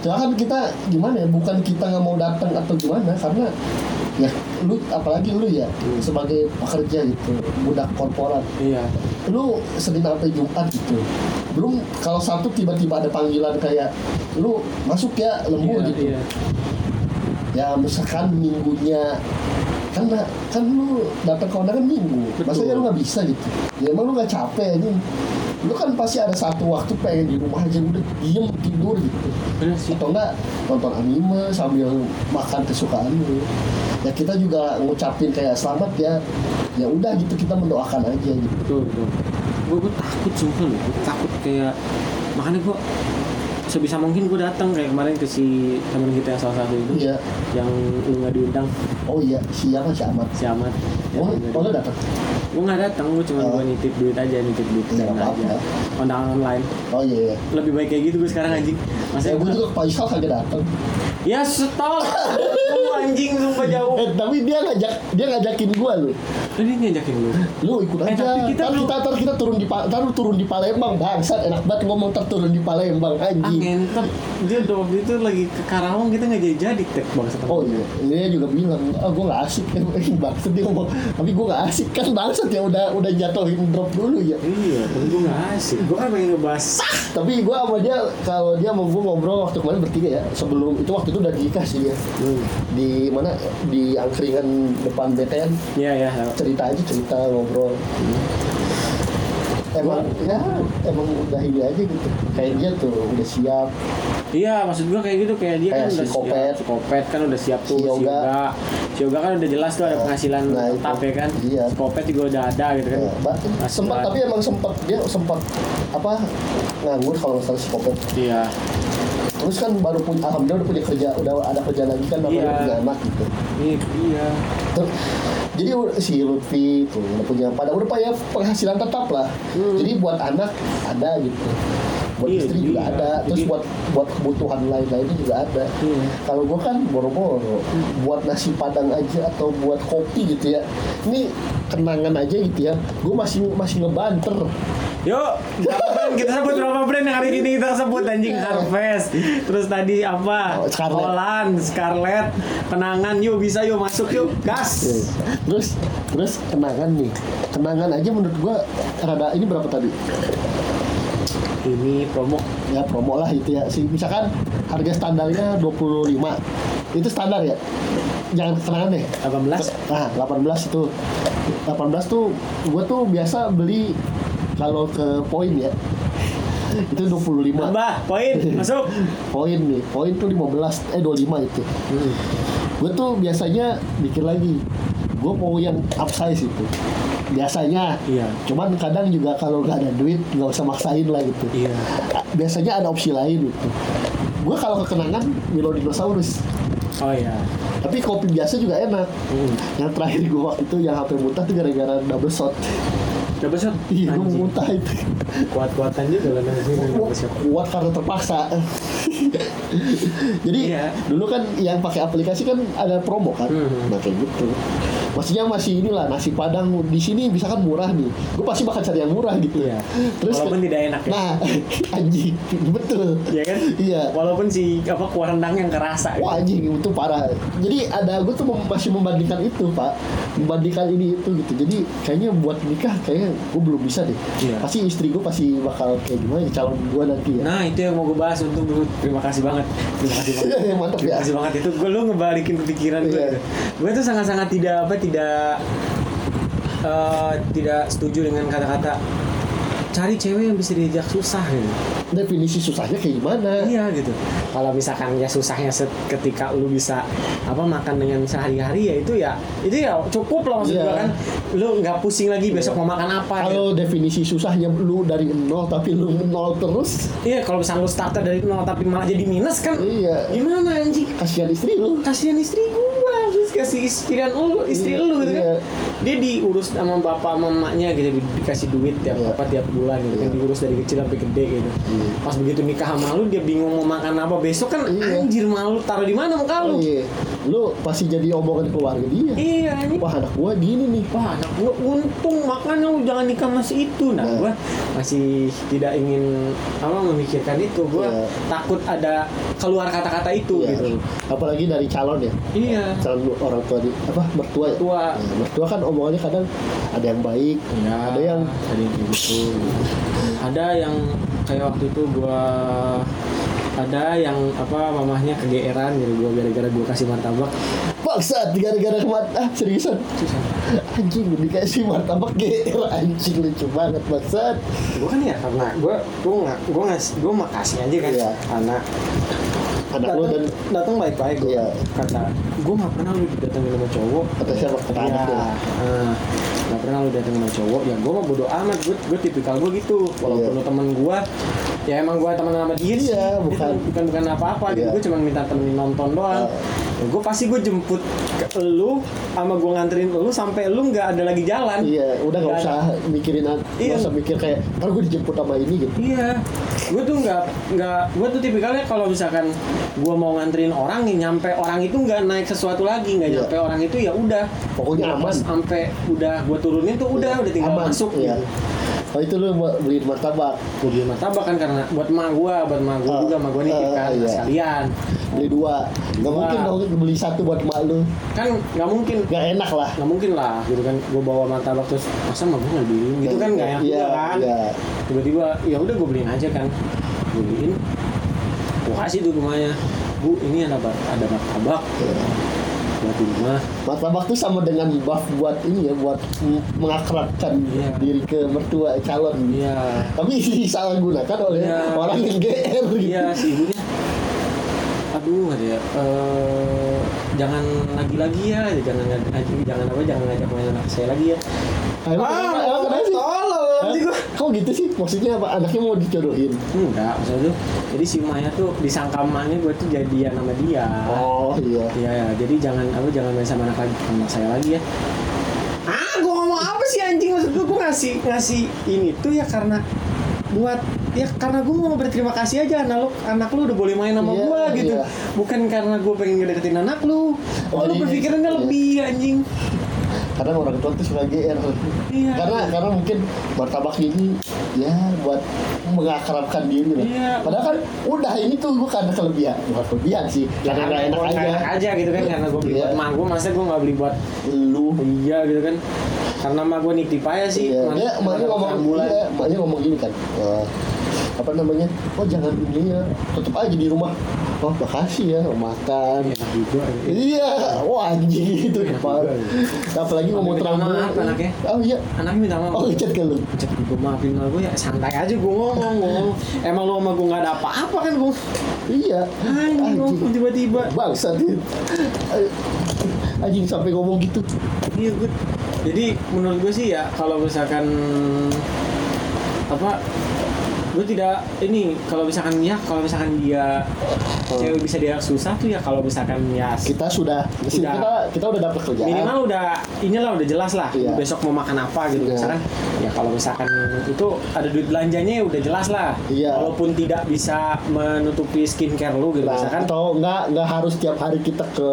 Cuma kan kita gimana ya, bukan kita nggak mau datang atau gimana, karena ya lu apalagi lu ya sebagai pekerja gitu, budak korporat, Iya. lu Senin sampai Jumat gitu. Belum kalau Sabtu tiba-tiba ada panggilan kayak lu masuk ya lembu Iya, gitu. iya. Ya misalkan minggunya kan nggak- kan lu datang ke undangan minggu, Betul. maksudnya lu nggak bisa gitu. Ya emang lu nggak capek ini. Lu kan pasti ada satu waktu pengen di rumah aja udah diem tidur gitu Bener sih. atau enggak nonton anime sambil makan kesukaan lu ya kita juga ngucapin kayak selamat ya ya udah gitu kita mendoakan aja gitu Betul betul. Gue gue takut sumpah loh. Gue takut kayak makanya gue sebisa mungkin gue datang kayak kemarin ke si teman kita yang salah satu itu iya yang lu nggak diundang oh iya siapa si Ahmad si Ahmad. oh oh lu dapat Gue nggak datang. Gue cuma Oh. gue nitip duit aja nitip duit Nggak undangan apa-apa. aja. Undangan online. oh iya iya Lebih baik kayak gitu gue sekarang Eh, anjing. saya Maksudnya gue gua- juga ke Pak Ishal kagak datang Ya stop. (laughs) Lu anjing sumpah jauh. eh tapi dia ngajak dia ngajakin gue lu Ini ngajakin Eh, lu. lu ikut aja Eh, tapi kita ntar belum- kita ntar kita turun di Pa- ntar lu turun di Palembang bangsat enak banget ngomong ntar turun di Palembang Ah anjing ngentep. Dia udah waktu itu lagi ke Karawang kita nggak jadi jadi tek bangsa. Oh iya, dia juga bilang, ah gue gak asik (laughs) kan, bangset dia ngomong, tapi gue gak asik kan bangset ya udah udah jatuhin drop dulu ya. Iya, kan gue nggak asik. Gue kan pengen ngebahas. Tapi gue sama dia, kalau dia mau gue ngobrol waktu kemarin bertiga ya, sebelum itu waktu itu udah nikah sih ya, Hmm. di mana di angkringan depan BTN Iya ya. cerita aja cerita ngobrol. Emang ya emang udah ini aja gitu, kayak dia tuh udah siap, Iya, maksud gue kayak gitu kayak dia kan Kayak udah si Kopet. siap, si Kopet kan udah siap tuh, Si si Yoga. Yoga. Si Yoga kan udah jelas tuh ada Nah, penghasilan nah, itu. tetap ya kan. Iya. Si Kopet juga udah ada gitu kan. Ya, ba- Penghasilan. sempat tapi emang sempat dia sempat apa nganggur kalau misalnya si Kopet. Iya. terus kan baru punya alhamdulillah udah punya kerja udah ada kerja lagi kan namanya Iya. udah punya anak gitu Iya, iya. terus jadi si Lutfi tuh udah punya pada udah punya penghasilan tetap lah Hmm. jadi buat anak ada gitu buat Iya, istri juga iya. ada terus Jadi- buat buat kebutuhan lain lainnya juga ada Iya. Hmm. kalau gue kan boro-boro buat nasi padang aja atau buat kopi gitu ya ini kenangan aja gitu ya gue masih masih ngebanter Yuk, berapa brand kita sebut berapa brand yang hari ini kita sebut anjing Harvest. Terus tadi Iya. Oh, apa? Scarlett. Olan, Scarlett, kenangan yuk bisa yuk masuk yuk. Iya. Gas. terus terus kenangan nih kenangan aja menurut gua rada ini berapa tadi Ini promo ya promo lah itu ya si misalkan harga standarnya 25 itu standar ya jangan kenangan deh 18. nah 18 itu 18 tuh gua tuh biasa beli kalau ke poin ya itu 25 Tambah poin masuk. poin nih poin tuh 15 eh 25 itu gue tuh biasanya mikir lagi gue mau yang upsize itu biasanya Iya. cuman kadang juga kalau nggak ada duit nggak usah maksain lah gitu Iya. biasanya ada opsi lain gitu gue kalau kekenangan Milo dinosaurus Oh iya. tapi kopi biasa juga enak Hmm. yang terakhir gue waktu itu yang HP muntah tuh gara-gara double shot (laughs) Coba shot. iya gue Anjing. muntah itu Kuat-kuatan juga lah nanti Gua kuat karena terpaksa (laughs) jadi Iya. dulu kan yang pakai aplikasi kan ada promo kan Mhm. nah kayak gitu maksudnya masih inilah nasi padang di sini bisa kan murah nih gue pasti bakal cari yang murah gitu Iya. terus Walaupun tidak enak ya. nah (laughs) anjing betul Iya kan? iya Walaupun si apa kuah rendang yang kerasa. kan? Wah anjing itu parah. Jadi ada gue tuh mem- masih membandingkan itu pak, membandingkan ini itu gitu. Jadi kayaknya buat nikah kayaknya gue belum bisa deh. Iya. Pasti istri gue pasti bakal kayak gimana ya, calon gue nanti ya. Nah itu yang mau gue bahas untuk dulu terima kasih banget terima kasih banget (laughs) Mantap terima ya. kasih banget itu gue lu ngebalikin pikiran gue Iya. gue tuh sangat-sangat tidak apa tidak eh, tidak setuju dengan kata-kata cari cewek yang bisa diajak susah gitu Definisi susahnya kayak gimana? iya gitu kalau misalkan ya susahnya set- ketika lu bisa apa makan dengan sehari-hari ya itu ya itu ya cukup lah maksud Iya. gue kan lu nggak pusing lagi besok mau makan apa gitu. Kalau definisi susahnya lu dari nol tapi lu nol terus, Iya, kalau misalnya lu starter dari nol tapi malah jadi minus kan? Iya. Gimana anjing? kasihan istri lu. Kasihan istri gua, terus kasih istrian lu, istri Iya, lu gitu iya. kan. Dia diurus sama bapak sama emaknya gitu di- dikasih duit tiap Iya. apa tiap bulan gitu kan Iya. diurus dari kecil sampai gede gitu. Iya. Pas begitu nikah sama lu dia bingung mau makan apa besok kan Iya. anjir malu taruh di mana muka lu? Iya. Lu pasti jadi omongan keluarga dia. Iya, anjing. Wah anak gue gini nih. Wah, anak gua untung makanya lu jangan nikah masih itu. Nah, Nah. gua masih tidak ingin apa memikirkan itu. Gua Iya. takut ada keluar kata-kata itu Iya. gitu. Apalagi dari calon ya. Iya. calon orang tua di, apa mertua ya? Mertua. Iya, Ya, mertua kan omongannya kadang ada yang baik ada yang ada yang kayak gitu. ada yang kayak waktu itu gua ada yang apa mamahnya kegeeran gitu gua gara-gara gua kasih martabak paksa gara-gara kemat ah seriusan susah. anjing dikasih martabak GR anjing lucu banget maksud Gua kan ya karena gua gua nggak gua ngas gua makasih aja kan Iya. anak anak lu dan datang datang baik-baik gua Iya. kata gua nggak pernah lu datangin sama cowok Kata siapa? Kata Iya. anak ya? Ah, nggak pernah lu datang sama cowok ya gua mah bodo amat gua gua tipikal gua gitu walaupun Iya. lu temen gua ya emang gua temen sama dia sih. Iya, Dia bukan. bukan bukan apa-apa gitu Iya. Ah. gua cuma minta temenin nonton doang ya, gua pasti gua jemput ke lu sama gua nganterin lu sampai lu nggak ada lagi jalan iya udah nggak Nggak usah mikirin nggak Iya. usah mikir kayak ntar gue dijemput sama ini gitu Iya, gue tuh nggak nggak gue tuh tipikalnya kalau misalkan gue mau nganterin orang nih nyampe orang itu nggak naik sesuatu lagi nggak Iya. nyampe orang itu ya udah Pokoknya Pas aman. sampai udah gue turunin tuh udah udah tinggal Aman, masuk iya. gitu. kalau itu lu mau beliin martabak Gue beli martabak kan karena buat emak gue, buat emak gue Ah, juga emak gue nih ah, kan iya. sekalian beli dua nggak Wah. mungkin dong beli satu buat emak lu kan nggak mungkin nggak enak lah nggak mungkin lah gitu kan gue bawa martabak terus masa emak gue nggak beliin gitu kan nggak enak iya, juga kan iya. tiba-tiba ya udah gue beliin aja kan gue beliin gue kasih tuh rumahnya bu ini ada bar- ada martabak Iya. buat di rumah Martabak tuh sama dengan buff buat ini ya, buat m- mengakrabkan Iya. diri ke mertua eh, calon. iya Tapi disalahgunakan oleh Iya. orang yang GR gitu. iya si ibunya aduh ada ya eh, jangan lagi-lagi ya jangan lagi jangan apa jangan ngajak main anak saya lagi ya Ah, Emang, emang, emang kenapa sih? tolong Hah? Kok gitu sih? Maksudnya apa? Anaknya mau dijodohin? enggak maksudnya tuh jadi si Maya tuh disangka emaknya gue tuh jadian sama dia Oh iya. Iya, ya, jadi jangan apa jangan main sama anak lagi anak saya lagi ya. Ah, gua ngomong apa sih anjing maksud gua, gua ngasih ngasih ini tuh ya karena buat ya karena gua mau berterima kasih aja anak lu anak lu udah boleh main sama Iya, gua gitu. iya. Bukan karena gua pengen ngedeketin anak lu. Oh, lu Jadi- berpikirannya iya. lebih anjing. Kadang orang tua tuh suka GR. Iya. Karena karena mungkin martabak ini ya buat mengakrabkan diri lah. Iya. Padahal kan udah ini tuh gue karena kelebihan, bukan kelebihan sih, karena nggak enak gua aja. enak aja gitu kan karena gua beli Iya. buat emak gua masa gua nggak beli buat Lu iya gitu kan. Karena emak gua nitip aja sih. Iya, Man- dia maknya man- ngomong bulan. iya, maknya ngomong gini kan. eh, apa namanya? Oh jangan ini ya, tetep aja di rumah. Oh makasih ya, makan. Enak juga. ya. Iya, wah anjing itu Enak Pak. juga, Apalagi ngomong Tapi terang minta bulan. maaf, anaknya. Oh iya, Anaknya minta maaf. oh ngechat ke lu. Cek gue maafin lah gue ya santai aja gue ngomong gue ngomong emang lu sama gue nggak ada apa-apa kan gue Iya. anjing ngomong tiba-tiba Bangsat. Eh, Anjing sampai ngomong gitu. iya gue jadi menurut gue sih ya kalau misalkan apa gue tidak ini kalau misalkan ya kalau misalkan dia cewek bisa dia susah tuh ya kalau misalkan ya kita sudah Sudah. kita kita udah dapat kerjaan minimal udah inilah udah jelas lah Ya. Iya. besok mau makan apa gitu Iya. misalkan ya kalau misalkan itu ada duit belanjanya ya udah jelas lah Iya. walaupun tidak bisa menutupi skincare lu gitu nah, misalkan atau nggak nggak harus tiap hari kita ke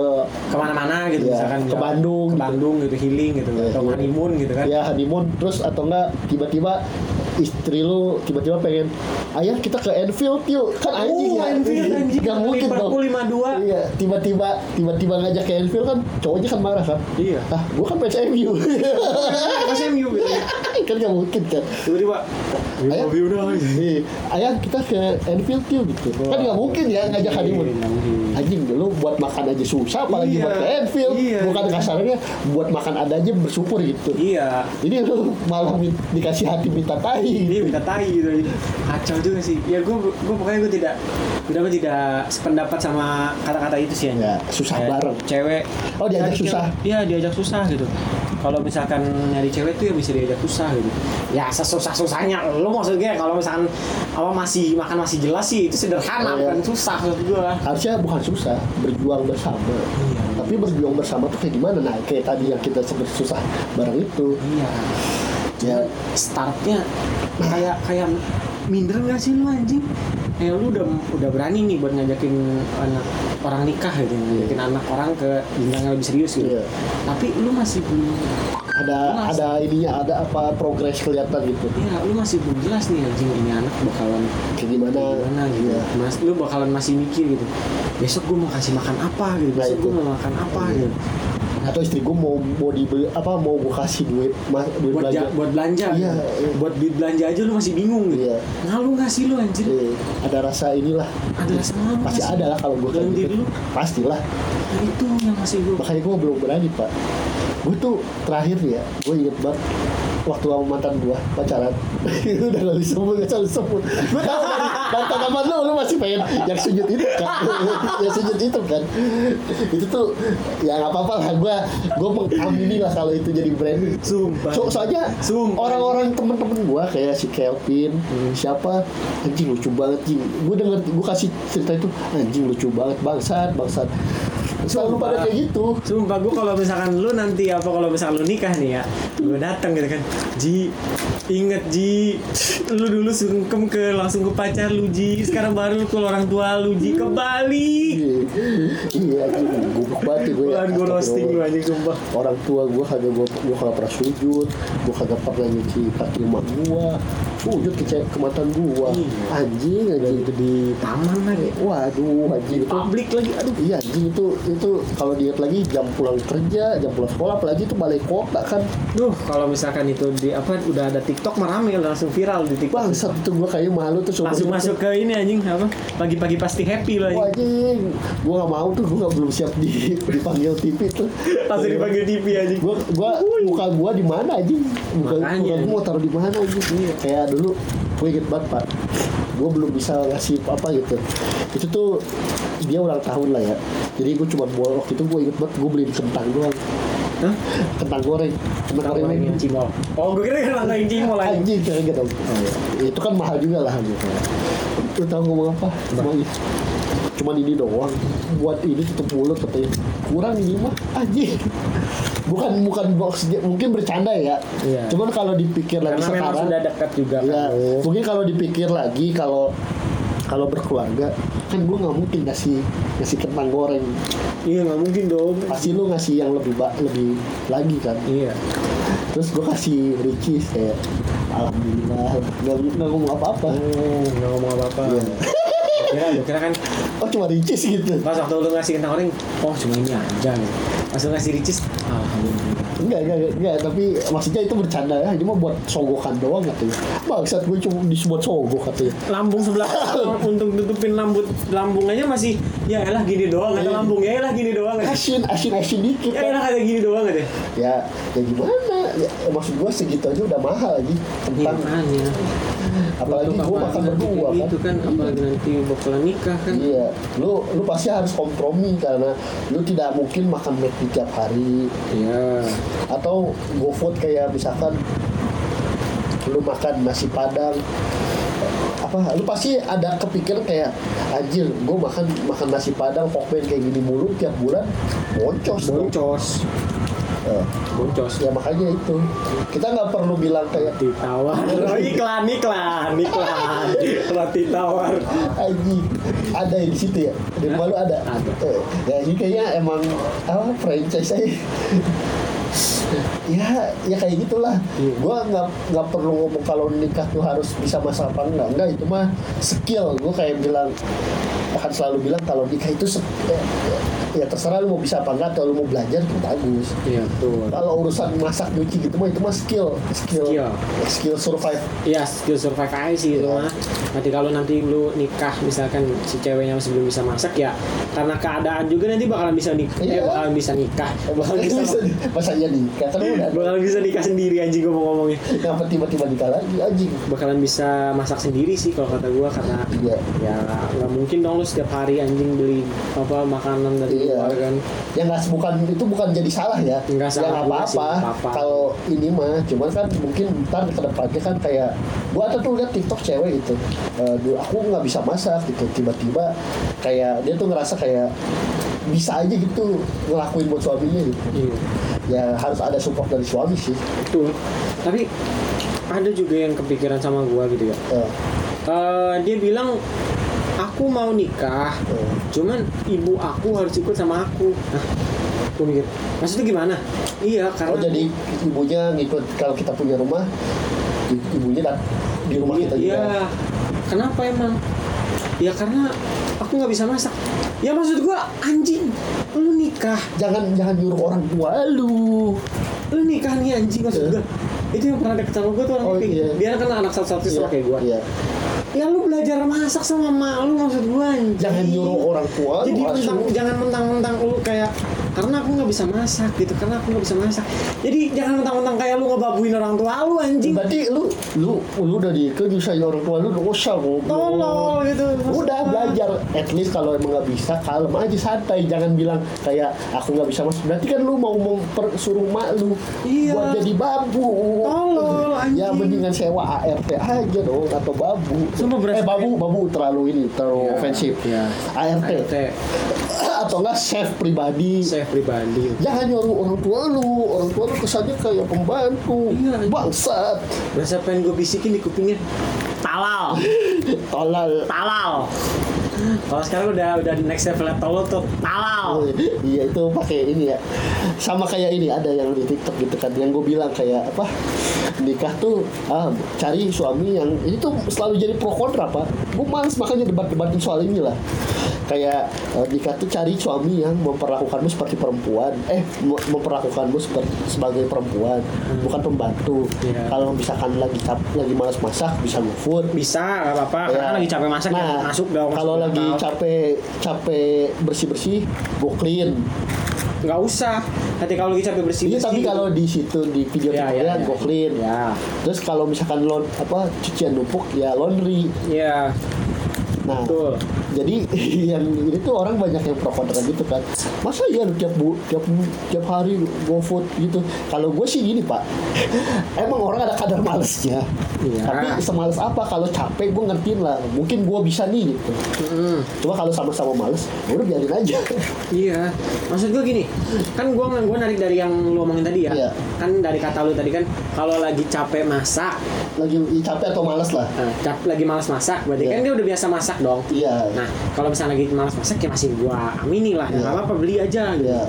kemana-mana gitu Iya, misalkan ke Bandung ke gitu. Bandung gitu healing gitu Iya, atau iya. honeymoon gitu (laughs) kan ya honeymoon terus atau enggak tiba-tiba istri lu tiba-tiba pengen ayah kita ke Enfield yuk kan anjing ya Anfield, Oh, anjing. Nggak mungkin dong Liverpool 5-2. iya tiba-tiba tiba-tiba ngajak ke Enfield kan cowoknya kan marah kan Iya. ah gua kan fans MU Pas MU gitu ya. (laughs) kan nggak mungkin kan tiba-tiba Ayo. "Love you, guys." Iya, ayah kita ke Enfield yuk gitu kan nggak mungkin ya ngajak honeymoon Iya, nggak mungkin. anjing dulu buat makan aja susah apalagi Iya. buat ke Enfield Iya. bukan kasarnya buat makan ada aja bersyukur gitu iya ini lu malah min- dikasih hati minta tai. ini minta tai gitu kacau juga sih ya gue gue pokoknya gue tidak gue apa tidak sependapat sama kata-kata itu sih Ya, susah Kayak bareng. cewek Oh, diajak nyari susah. cewek- iya diajak susah gitu kalau misalkan nyari cewek tuh ya bisa diajak susah gitu ya sesusah susahnya lo maksudnya kalau misalkan apa masih makan masih jelas sih itu Oh, sederhana iya. bukan susah menurut gue Harusnya bukan susah, berjuang bersama. Iya. Tapi berjuang bersama tuh kayak gimana? Nah, kayak tadi yang kita sebut susah bareng itu. iya Ya, startnya kayak kayak minder gak sih lu anjing kayak lu udah udah berani nih buat ngajakin anak orang nikah gitu ngajakin anak orang ke jenjang yang lebih serius gitu Iya. tapi lu masih belum ada Mas. ada ininya, ada apa progres kelihatan gitu. ya lu masih belum jelas nih anjing ini anak bakalan Kayak gimana? gimana gitu Ya. mas lu bakalan masih mikir gitu besok gue mau kasih makan apa gitu Nah, besok itu. Iya. gue mau makan apa gitu Atau istri gue mau mau dibeli apa mau gue kasih duit, mas, duit buat belanja. ja- buat belanja Iya, gitu. iya. buat duit belanja aja lu masih bingung gitu Iya. ngalu gak sih lu anjir Eh, ada rasa inilah. ada rasa ngalu Pasti nggak sih? ada lah kalau gitu. gue Dalam diri lu Pastilah. Nah, itu yang masih gue makanya gue belum berani pak gue tuh terakhir nih ya gue inget banget waktu sama mantan gue pacaran (laughs) itu udah gak disebut gak selalu sebut gue tau kan, mantan mantan lu lu masih pengen yang sujud itu kan (laughs) yang sujud itu kan itu tuh ya gak apa-apa lah gue gue mengamini lah kalau itu jadi brand Sumpah. so, soalnya Sumpah. orang-orang temen-temen gue kayak si Kelvin Hmm. siapa anjing lucu banget jing gue denger gue kasih cerita itu anjing lucu banget bangsat bangsat selalu pada Sumpah. kayak gitu Sumpah gue kalau misalkan lu nanti apa kalau misalkan lu nikah nih ya Gue datang gitu kan Ji inget Ji Lu dulu sungkem ke langsung ke pacar lu Ji Sekarang baru lu ke orang tua lu Ji Kebalik Iya, anjing, goblok banget gue ya. Bukan gue roasting lu Astagfirullah. anjing sumpah Orang tua gue kagak gue gue kagak pernah sujud, gue kagak pernah nyuci kaki emak gue, sujud ke cewek- ke mantan gue, Iya. anjing anjing itu di, Taman lagi waduh anjing itu, Publik lagi aduh iya anjing itu itu kalau diet lagi jam pulang kerja, jam pulang sekolah, apalagi itu balik kota kan, Duh kalau misalkan itu di apa udah ada TikTok merame langsung viral di TikTok bangsat tuh gue kayak malu tuh sumpah. Langsung masuk ke ini anjing apa Pagi-pagi pasti happy lu Wah anjing anjing, gue gak mau tuh, gue gak belum siap di- dipanggil TV tuh. Langsung dipanggil TV anjing gua gua muka gua di mana aja muka, Makanya. muka gua mau taruh di mana aja Iya, kayak dulu gue inget banget pak gua belum bisa ngasih apa gitu itu tuh dia ulang tahun lah ya jadi gua cuma bawa waktu itu gua inget banget gua beliin kentang doang Hah? kentang goreng kentang Orang goreng main cimol Oh gue kira orang main cimol anjing anjing kayak gitu itu kan mahal juga lah gitu lu tahu ngomong apa Nah. Cuma- cuman ini doang buat ini tutup mulut katanya kurang ini mah anjing bukan bukan box mungkin bercanda ya Iya. cuman kalau dipikir lagi Karena memang sekarang sudah dekat juga kan. ya mungkin kalau dipikir lagi kalau kalau berkeluarga kan gue nggak mungkin ngasih ngasih kentang goreng Iya nggak mungkin dong. pasti lu ngasih yang lebih ba- lebih lagi kan Iya. terus gue kasih ricis kayak alhamdulillah nggak nggak ngomong apa-apa Hmm, nggak ngomong apa-apa. Iya. Kira, gua kira kan oh cuma ricis gitu pas waktu lu ngasih kentang goreng, oh cuma ini aja. gitu. Pas lu ngasih ricis, alhamdulillah. enggak enggak enggak, enggak tapi maksudnya itu bercanda ya cuma buat sogokan doang katanya bangsat gue cuma disebut sogok katanya Lambung (laughs) sebelah untuk tutupin lambut lambung aja masih ya elah gini doang Iya. ada lambung ya elah gini (laughs) doang ada. asin asin asin dikit Ya kan. elah ada gini doang ada. ya ya gimana ya, maksud gue segitu aja udah mahal lagi Iya, tentang makanya. apalagi Untuk gue apalagi makan nanti berdua kayak kan gitu kan apalagi nanti bakalan nikah kan Iya, lu lu pasti harus kompromi karena lu tidak mungkin makan McD tiap hari iya atau GoFood kayak misalkan lu makan nasi padang apa lu pasti ada kepikiran kayak anjir gue makan makan nasi padang pokmen kayak gini mulu tiap bulan boncos dong." boncos Eh, boncos ya makanya itu kita nggak perlu bilang kayak roti tawar iklan iklan (laughs) iklan roti tawar Aji, ada ya di situ ya? Di rumah lu ada? Ada. Eh, Ya, ini kayaknya emang apa franchise aja. ya, ya kayak gitulah. Iya. Gua nggak nggak perlu ngomong kalau nikah tuh harus bisa masak apa enggak. Enggak, itu mah skill. Gua kayak bilang akan selalu bilang kalau nikah itu se- eh, ya, terserah lu mau bisa apa enggak atau lu mau belajar itu bagus. iya tuh Kalau urusan masak nyuci gitu mah itu mah skill, skill, Skill. skill survive. Iya, skill survive aja sih itu mah. Nanti kalau nanti lu nikah misalkan si ceweknya masih belum bisa masak ya karena keadaan juga nanti bakalan bisa nikah, Iya. bakalan bisa nikah, bakalan bisa, Bisa, (laughs) masa jadi nikah kan udah. bakalan bisa nikah sendiri anjing gua mau ngomongnya. Kenapa tiba-tiba nikah lagi anjing? Bakalan bisa masak sendiri sih kalau kata gua karena Iya. ya nggak mungkin dong lu setiap hari anjing beli apa makanan dari Iya. luar kan. Yang nggak bukan itu bukan jadi salah ya. Nggak Yang salah juga sih, apa-apa. nggak apa-apa. Kalau ini mah cuman kan mungkin ntar ke depannya kan kayak gua ada tuh lihat TikTok cewek gitu. Eh, "Duh, aku nggak bisa masak gitu. Tiba-tiba kayak dia tuh ngerasa kayak bisa aja gitu ngelakuin buat suaminya gitu. Iya. Ya harus ada support dari suami sih. Betul. Tapi ada juga yang kepikiran sama gua gitu ya. Eh, Eh, dia bilang aku mau nikah eh, cuman ibu aku harus ikut sama aku Hah? Gua mikir maksudnya gimana iya karena Oh jadi ibunya ngikut kalau kita punya rumah i- ibunya dat- di rumah kita juga. iya kenapa emang ya karena aku nggak bisa masak ya maksud gua anjing lu nikah Jangan jangan nyuruh orang tua lu. lu nikah nih anjing Iya. maksud gua itu yang pernah deket sama gua tuh orang Oh, oh, iya. dia kan anak satu-satu sama kayak gua Iya. ya lu belajar masak sama emak lu maksud gua anjing jangan nyuruh orang tua jadi lu mentang, asuh. jangan mentang-mentang lu kayak karena aku nggak bisa masak gitu karena aku nggak bisa masak jadi jangan mentang-mentang kayak lu ngebabuin orang tua lu anjing berarti lu lu lu udah diikat nyusahin orang tua lu dosa goblok tolol gitu udah belajar at least kalau emang nggak bisa kalem aja santai jangan bilang kayak aku nggak bisa masuk berarti kan lu mau mempersuruh mak lu Iya. buat jadi babu Tolol, ya anjing. mendingan sewa ART aja dong atau babu Sumpah, eh berasa- babu babu terlalu ini terlalu Iya, ofensif iya. ART ART atau enggak chef pribadi saya pribadi Jangan nyuruh Ya, orang tua lu, orang tua lu kesannya kayak pembantu, Iya, iya. bangsat, berasa pengen gue bisikin di kupingnya talal tolol. talal kalau sekarang udah udah di next level tolol tuh talal (laughs) Iya itu pakai ini ya, sama kayak ini ada yang di TikTok gitu kan, yang gue bilang kayak apa nikah tuh ah, cari suami yang ini tuh selalu jadi pro kontra pak. Gue males makanya debat-debatin soal ini lah. Kayak eh, nikah tuh cari suami yang memperlakukanmu seperti perempuan, eh mem- memperlakukanmu seperti sebagai perempuan, bukan pembantu. Iya. Kalau misalkan lagi cap- lagi malas masak bisa ngufur, bisa nggak apa-apa karena Ya. lagi capek masak ya Nah, masuk dong masuk Kalau dong, lagi tolol. capek capek bersih bersih, go clean. nggak usah nanti kalau lagi capek bersih Iya bersih tapi kalau di situ di video Ya, tutorial ya, ya. go clean. ya Terus kalau misalkan lon apa cucian numpuk ya laundry. ya Nah, betul jadi (laughs) yang ini tuh orang banyak yang pro kontra gitu kan. Masa ya lu tiap bu, tiap tiap hari go food gitu. Kalau gue sih gini pak, (laughs) emang orang ada kadar malesnya. Iya. Tapi semales apa kalau capek gue ngertiin lah. Mungkin gue bisa nih gitu. Mm-mm. Cuma kalau sama-sama males, ya udah biarin aja. (laughs) Iya, maksud gue gini, kan gue gua narik dari yang lo omongin tadi ya, Iya. kan dari kata lu tadi kan, kalau lagi capek masak, Lagi capek atau males lah. eh, cap- lagi malas masak, berarti Iya. kan dia udah biasa masak dong. Iya. Nah, kalau misalnya lagi malas masak ya masih gue amini lah, nggak Iya. apa-apa beli aja. Gitu. Iya.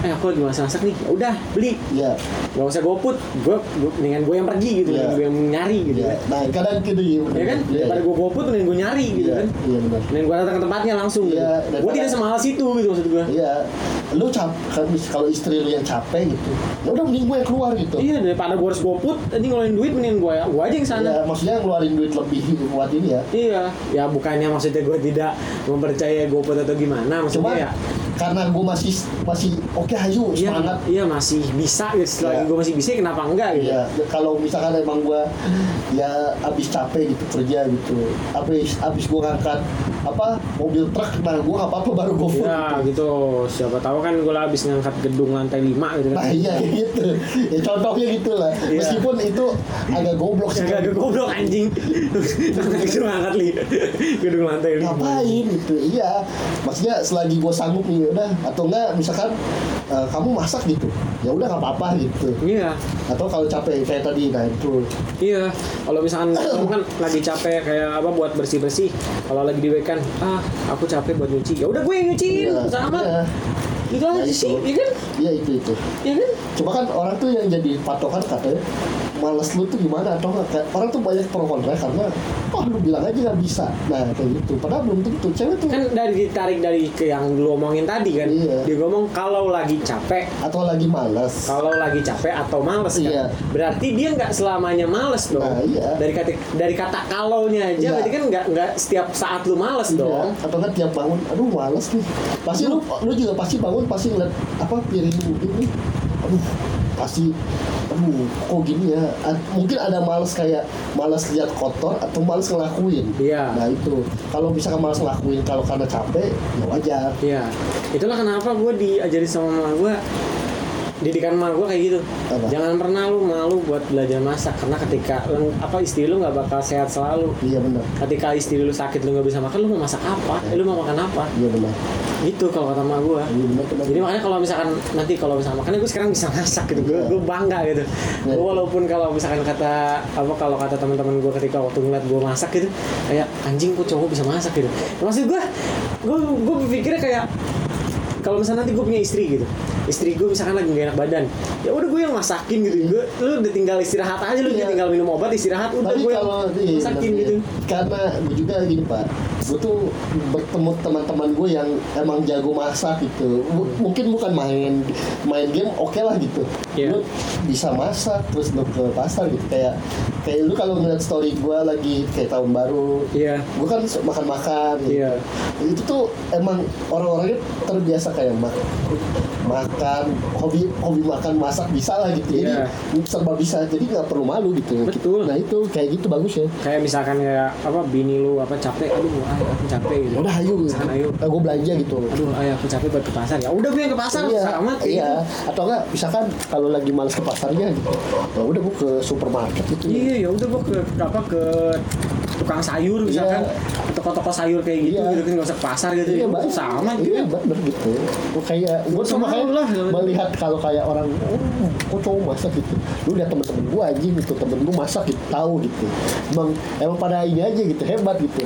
Eh aku lagi malas masak nih, ya udah beli, Iya. nggak usah goput, gue dengan gue yang pergi gitu, Iya. gue yang nyari gitu Iya. kan. Nah, kadang gitu ya. Ya kan, Iya. daripada gue goput, mending gue nyari gitu Iya, kan. iya benar. Mending gue datang ke tempatnya langsung. Iya, gitu. Gue daripada- tidak semalas itu gitu maksud gue. Iya. Lu cap kan mis- kalau istri lu yang capek gitu. Ya udah mending gue yang keluar gitu. Iya daripada gue harus goput, nanti ngeluarin duit mending gue gue aja yang sana. Ya, maksudnya ngeluarin duit lebih buat ini ya. Iya, ya bukannya maksudnya gue tidak mempercaya GoFood atau gimana, maksudnya Cuma- ya karena gue masih masih oke hayu Iya, semangat iya masih bisa gitu. Selagi Iya. gue masih bisa, kenapa enggak gitu? Iya, kalau misalkan emang gua ya abis capek gitu kerja gitu, abis abis gua ngangkat apa mobil truk mana gua nggak apa-apa baru gua food. Ya gitu, siapa tahu kan gue habis ngangkat gedung lantai 5 gitu kan. Nah iya kayak gitu, ya contohnya gitu lah. Iya. Meskipun itu agak goblok sih. Agak agak goblok anjing. (laughs) Gedung ngangkat li. (laughs) Gedung lantai 5. ngapain gitu iya maksudnya selagi gue sanggup nih udah atau enggak misalkan eh, kamu masak gitu ya udah nggak apa-apa gitu Iya, atau kalau capek kayak tadi nah itu iya. Kalau misalkan kamu kan lagi capek kayak apa buat bersih bersih. Kalau lagi di weekend, ah aku capek buat nyuci. Ya udah gue yang Iya, nyuciin iya. sama. Itu Nah, aja itu. sih, ya kan? iya itu itu Ya kan? Cuma kan orang tuh yang jadi patokan katanya Males lu tuh gimana atau nggak Kayak orang tuh banyak pro kontra karena Wah lu bilang aja nggak bisa Nah kayak gitu Padahal belum tentu cewek tuh Kan dari ditarik dari ke yang lu omongin tadi kan. Iya. Dia ngomong kalau lagi capek Atau lagi males kalau lagi capek atau males kan Iya. berarti dia nggak selamanya males dong Nah, iya. dari kata dari kata kalaunya aja Iya. berarti kan nggak nggak setiap saat lu males Iya. dong Atau kan tiap bangun Aduh males nih Pasti lu, lu juga pasti bangun Pasti ngeliat apa piring lu ini Aduh pasti aduh kok gini ya A- mungkin ada males kayak males lihat kotor atau males ngelakuin Iya. nah itu kalau misalkan males ngelakuin kalau karena capek ya wajar iya itulah kenapa gue diajari sama mama gue didikan mama gue kayak gitu Apa? jangan pernah lu malu buat belajar masak karena ketika lu- apa istri lu nggak bakal sehat selalu iya benar ketika istri lu sakit lu nggak bisa makan lu mau masak apa Eh, lu mau makan apa iya benar gitu kalau kata mama gue iya benar benar. Jadi makanya kalau misalkan nanti kalau misalkan makanya gue sekarang bisa masak gitu, gue gue bangga gitu. Iya. Gue walaupun kalau misalkan kata apa kalau kata teman-teman gue ketika waktu ngeliat gue masak gitu, kayak anjing kok cowok bisa masak gitu. Maksud gue, gue gue berpikirnya kayak kalau misalnya nanti gue punya istri gitu, istri gue misalkan lagi gak enak badan, ya udah gue yang masakin gitu. Gue lu udah tinggal istirahat aja, lu Iya. tinggal minum obat istirahat, udah tapi gue yang kalau iya, masakin bener, gitu. iya. karena gue juga gini pak gue tuh bertemu teman-teman gue yang emang jago masak gitu M- mungkin bukan main main game oke lah gitu Iya. lu bisa masak terus lu ke pasar gitu kayak kayak lu kalau ngeliat story gue lagi kayak tahun baru Iya. gue kan su- makan-makan gitu. Iya. itu tuh emang orang-orangnya terbiasa kayak ma- makan hobi hobi makan masak bisa lah gitu jadi Iya. serba bisa jadi nggak perlu malu gitu Betul. nah itu kayak gitu bagus ya Kayak misalkan kayak apa bini lu apa capek, aduh ah, aku capek gitu. udah ayo gitu. Misalkan, ayo. Nah, gue belanja gitu aduh ayah aku capek buat ke pasar ya udah gue yang ke pasar iya, sama kayak iya. gitu. atau enggak misalkan kalau lagi males ke pasarnya gitu ya udah gue ke supermarket gitu iya ya udah gue ke apa ke tukang sayur misalkan ke toko-toko sayur kayak gitu Iya. gitu kan gak usah ke pasar gitu Iya, ya Mbak. sama gitu Iya, bener gitu. Gua kayak gua tuh Sama makanya lah, gitu. sama. melihat kalau kayak orang oh, kok cowok masak gitu. Lu lihat temen-temen gua anjing gitu, temen gua masak gitu, tahu gitu. Emang emang pada ini aja gitu, hebat gitu.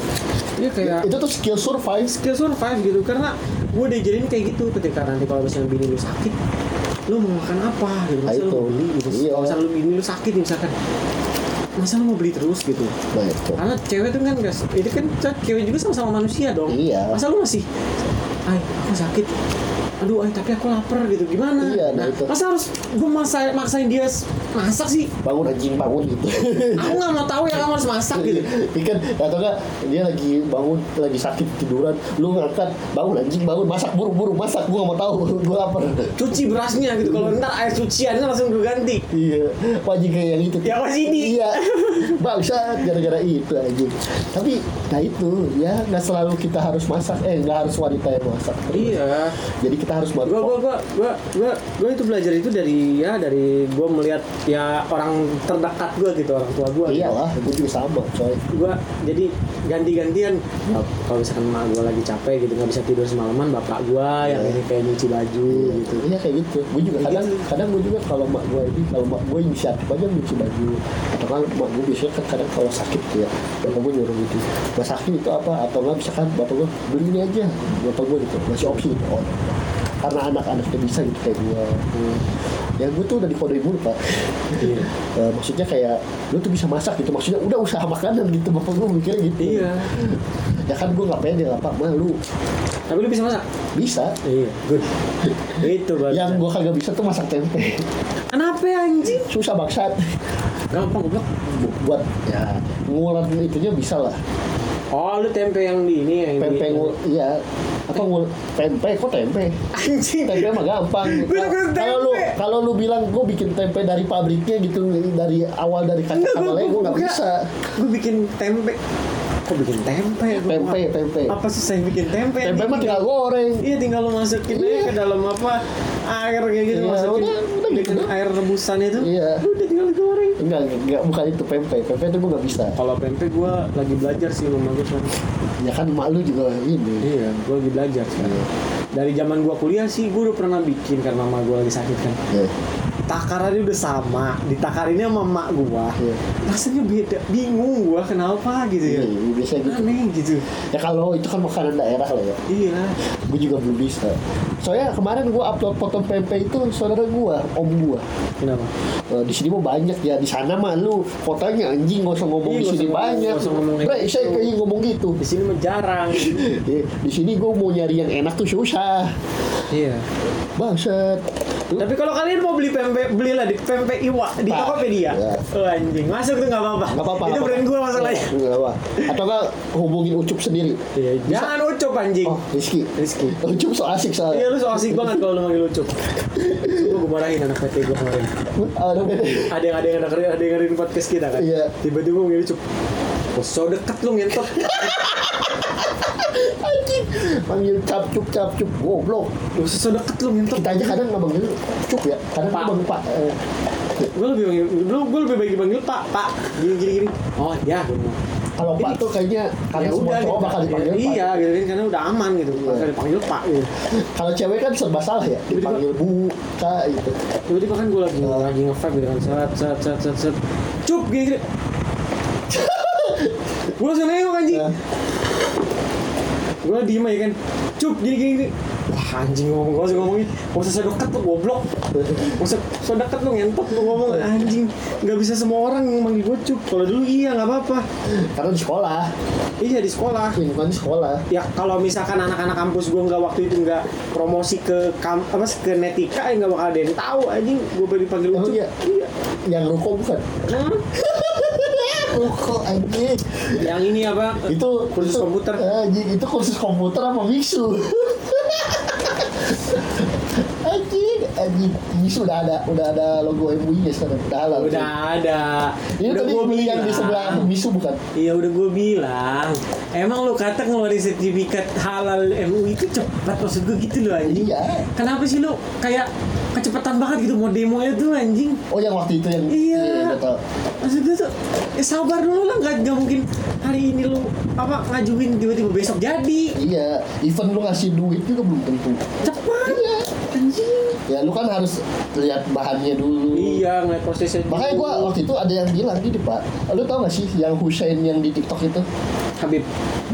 iya kayak Itu tuh skill survive. skill survive gitu karena gue diajarin kayak gitu ketika nanti kalau misalnya bini lu sakit lu mau makan apa gitu Nah, masa lu itu. mau beli gitu Iya. kalau misalnya lu bini lu sakit misalkan masa lu mau beli terus gitu Nah, itu. karena cewek tuh kan guys itu kan cewek juga sama-sama manusia dong Iya. masa lu masih ay aku sakit aduh ay tapi aku lapar gitu gimana Iya, nah nah, itu. masa harus gue maksa maksain dia s- masak sih Bangun anjing bangun (laughs) gitu. aku nggak mau tahu ya kamu harus masak gitu Ikan atau enggak dia lagi bangun lagi sakit tiduran, lu ngangkat bangun anjing bangun masak buru-buru masak gua nggak mau tahu gua lapar. cuci berasnya gitu kalau ntar air cuciannya langsung gue ganti Iya, wajib kayak yang itu. Yang pas ini. (laughs) Iya, bangsa gara-gara itu aja. Tapi, nah itu ya nggak selalu kita harus masak. Eh, nggak harus wanita yang masak. iya Jadi kita harus gue gue berpok. gue gue gue gue itu belajar itu dari ya dari gue melihat ya orang terdekat gue gitu orang tua gue Iyalah, gue Iya juga sama, coy. gue jadi ganti-gantian Hmm. Nah, kalau misalkan emak gue lagi capek gitu nggak bisa tidur semalaman bapak gue yang Iya. ini kayak nyuci baju gitu Iya kayak gitu. Gue juga Kayak kadang gitu. kadang gue juga kalau mak gue ini kalau mak gue inisiatif aja nyuci baju. Atau kan mak gue biasanya kan kadang kalau sakit tuh ya, bapak gue nyuruh gitu. Gak sakit itu apa? Atau nggak misalkan bapak gue beli ini aja, bapak gue gitu masih opsi. Gitu. Oh, karena anak-anaknya bisa gitu kayak gue. Ya gue tuh udah dikodein mulu pak. Iya. (laughs) Eh, maksudnya kayak lu tuh bisa masak gitu. Maksudnya udah usaha makanan gitu. Bapak gue mikirnya gitu. iya Ya kan gue nggak pede lah pak. Malu tapi lu bisa masak bisa. iya good itu baru Yang gue kagak bisa tuh masak tempe. (laughs) kenapa ya, anjing Susah bangsat. gampang goblok buat ya ngulat itunya bisa lah Oh, lu tempe yang di ini ya, yang Pempek di, ngul- iya apa ngul tempe kok tempe Anjing. tempe mah (laughs) gampang Gua takut kalau lu tempe. kalau lu bilang gue bikin tempe dari pabriknya gitu dari awal dari kacang Enggak, gua- awalnya gue gua- nggak gua- bisa Gue bikin tempe. Kok bikin tempe? Gua- Tempe, tempe. Apa sih saya bikin tempe? tempe mah tinggal goreng Iya tinggal lo masukin aja Iya. ke dalam apa air kayak gitu Iya, masukin udah, udah bikin gitu. air rebusan itu Iya. udah tinggal digoreng. enggak enggak bukan itu pempek pempek itu gue nggak bisa Kalau pempek gue lagi belajar sih sama gue sekarang. ya kan malu juga ini Iya, gue lagi belajar sekarang. Iya. Dari zaman gue kuliah sih gue udah pernah bikin karena mama gue lagi sakit kan. Ya. Takarannya udah sama, ditakarinnya sama emak gue. Iya. Rasanya beda, bingung gue kenapa gitu ya. Iya, biasanya gitu. Aneh gitu. Ya kalau itu kan makanan daerah lah ya. Iya. Gue juga belum bisa. Soalnya kemarin gue upload foto pempek itu saudara gue, om gue. Kenapa? Eh, di sini mah banyak ya di sana mah lu fotonya anjing nggak usah ngomong Iya, di nggak sini usah ngomong- banyak. nggak usah ngomong kayak Bre, gitu. saya kayak ngomong gitu. Di sini mah jarang. Iya, di sini gue mau nyari yang enak tuh susah. iya. Bangset. Tapi kalau kalian mau beli pempek, belilah di pempek Iwa di Pak, Tokopedia. iya. Oh, anjing, masuk tuh nggak apa-apa. Gak apa-apa. Itu nggak brand apa-apa. Iya. gue masalahnya. Nggak apa. Atau nggak hubungin Ucup sendiri. Iya, jangan ucup anjing. Oh, Rizky. Rizky. Ucup so asik Iya soalnya. lu so asik banget kalau lu manggil ucup. Gue gue marahin anak PT gue kemarin. Aduh, Ada yang ada yang dengerin ada yang dengerin podcast kita kan. Iya. Tiba-tiba gue manggil ucup. Oh, so deket lu ngentot. Anjing. Panggil cap cup cap cup. Goblok. Lu so deket lu ngentot. kita aja kadang nggak manggil cuk ya kadang Pak. nggak manggil pak Eh, Gue lebih manggil, dulu gue lebih baik dipanggil Pak, Pak. Gini gini gini. Oh ya. kalau pak tuh kayaknya karena semua cowok bakal dipanggil pak Iya, gitu kan karena udah aman gitu. Bakal dipanggil Pak gitu. kalau cewek kan serba salah ya Iya. dipanggil bu kak gitu tiba-tiba kan gue lagi lagi nge-vibe gitu kan set set set set set cup gini (laughs) gini gue langsung nengok anjing Ya. gue diem aja kan cup gini gini gini wah anjing ngomong gue langsung ngomongin gak usah sedekat tuh goblok gak usah sedekat lu ngentot lu ngomong Iya. anjing gak bisa semua orang yang manggil gue cup kalau dulu iya gak apa-apa karena di sekolah iya di sekolah lingkungan di sekolah ya kalau misalkan anak-anak kampus gue nggak waktu itu nggak promosi ke kam apa ke netika ya nggak bakal ada yang tahu anjing gue baru dipanggil Oh, ucup iya. yang ruko (laughs) bukan Hmm. ruko anjing yang ini apa itu kursus itu- Eh, komputer anjing itu kursus komputer apa (laughs) biksu anjing anjing biksu udah ada udah ada logo MUI nya sekarang udah halal udah ada ini udah tadi gua beli yang di bilang. sebelah bisu bukan iya udah gue bilang emang lu kata ngeluarin sertifikat halal MUI itu cepat maksud gue gitu loh anjing Iya. kenapa sih lu kayak kecepatan banget gitu mau demo nya tuh anjing Oh yang waktu itu yang Iya. udah tahu. maksud gue tuh ya sabar dulu lah nggak nggak mungkin hari ini lu apa ngajuin tiba-tiba besok jadi Iya, even lu ngasih duit juga belum tentu. cepat Iya. anjing Ya lu kan harus lihat bahannya dulu. iya ngeliat prosesnya dulu. Makanya gua waktu itu ada yang bilang gini Pak, lu tau gak sih yang Husain yang di TikTok itu Habib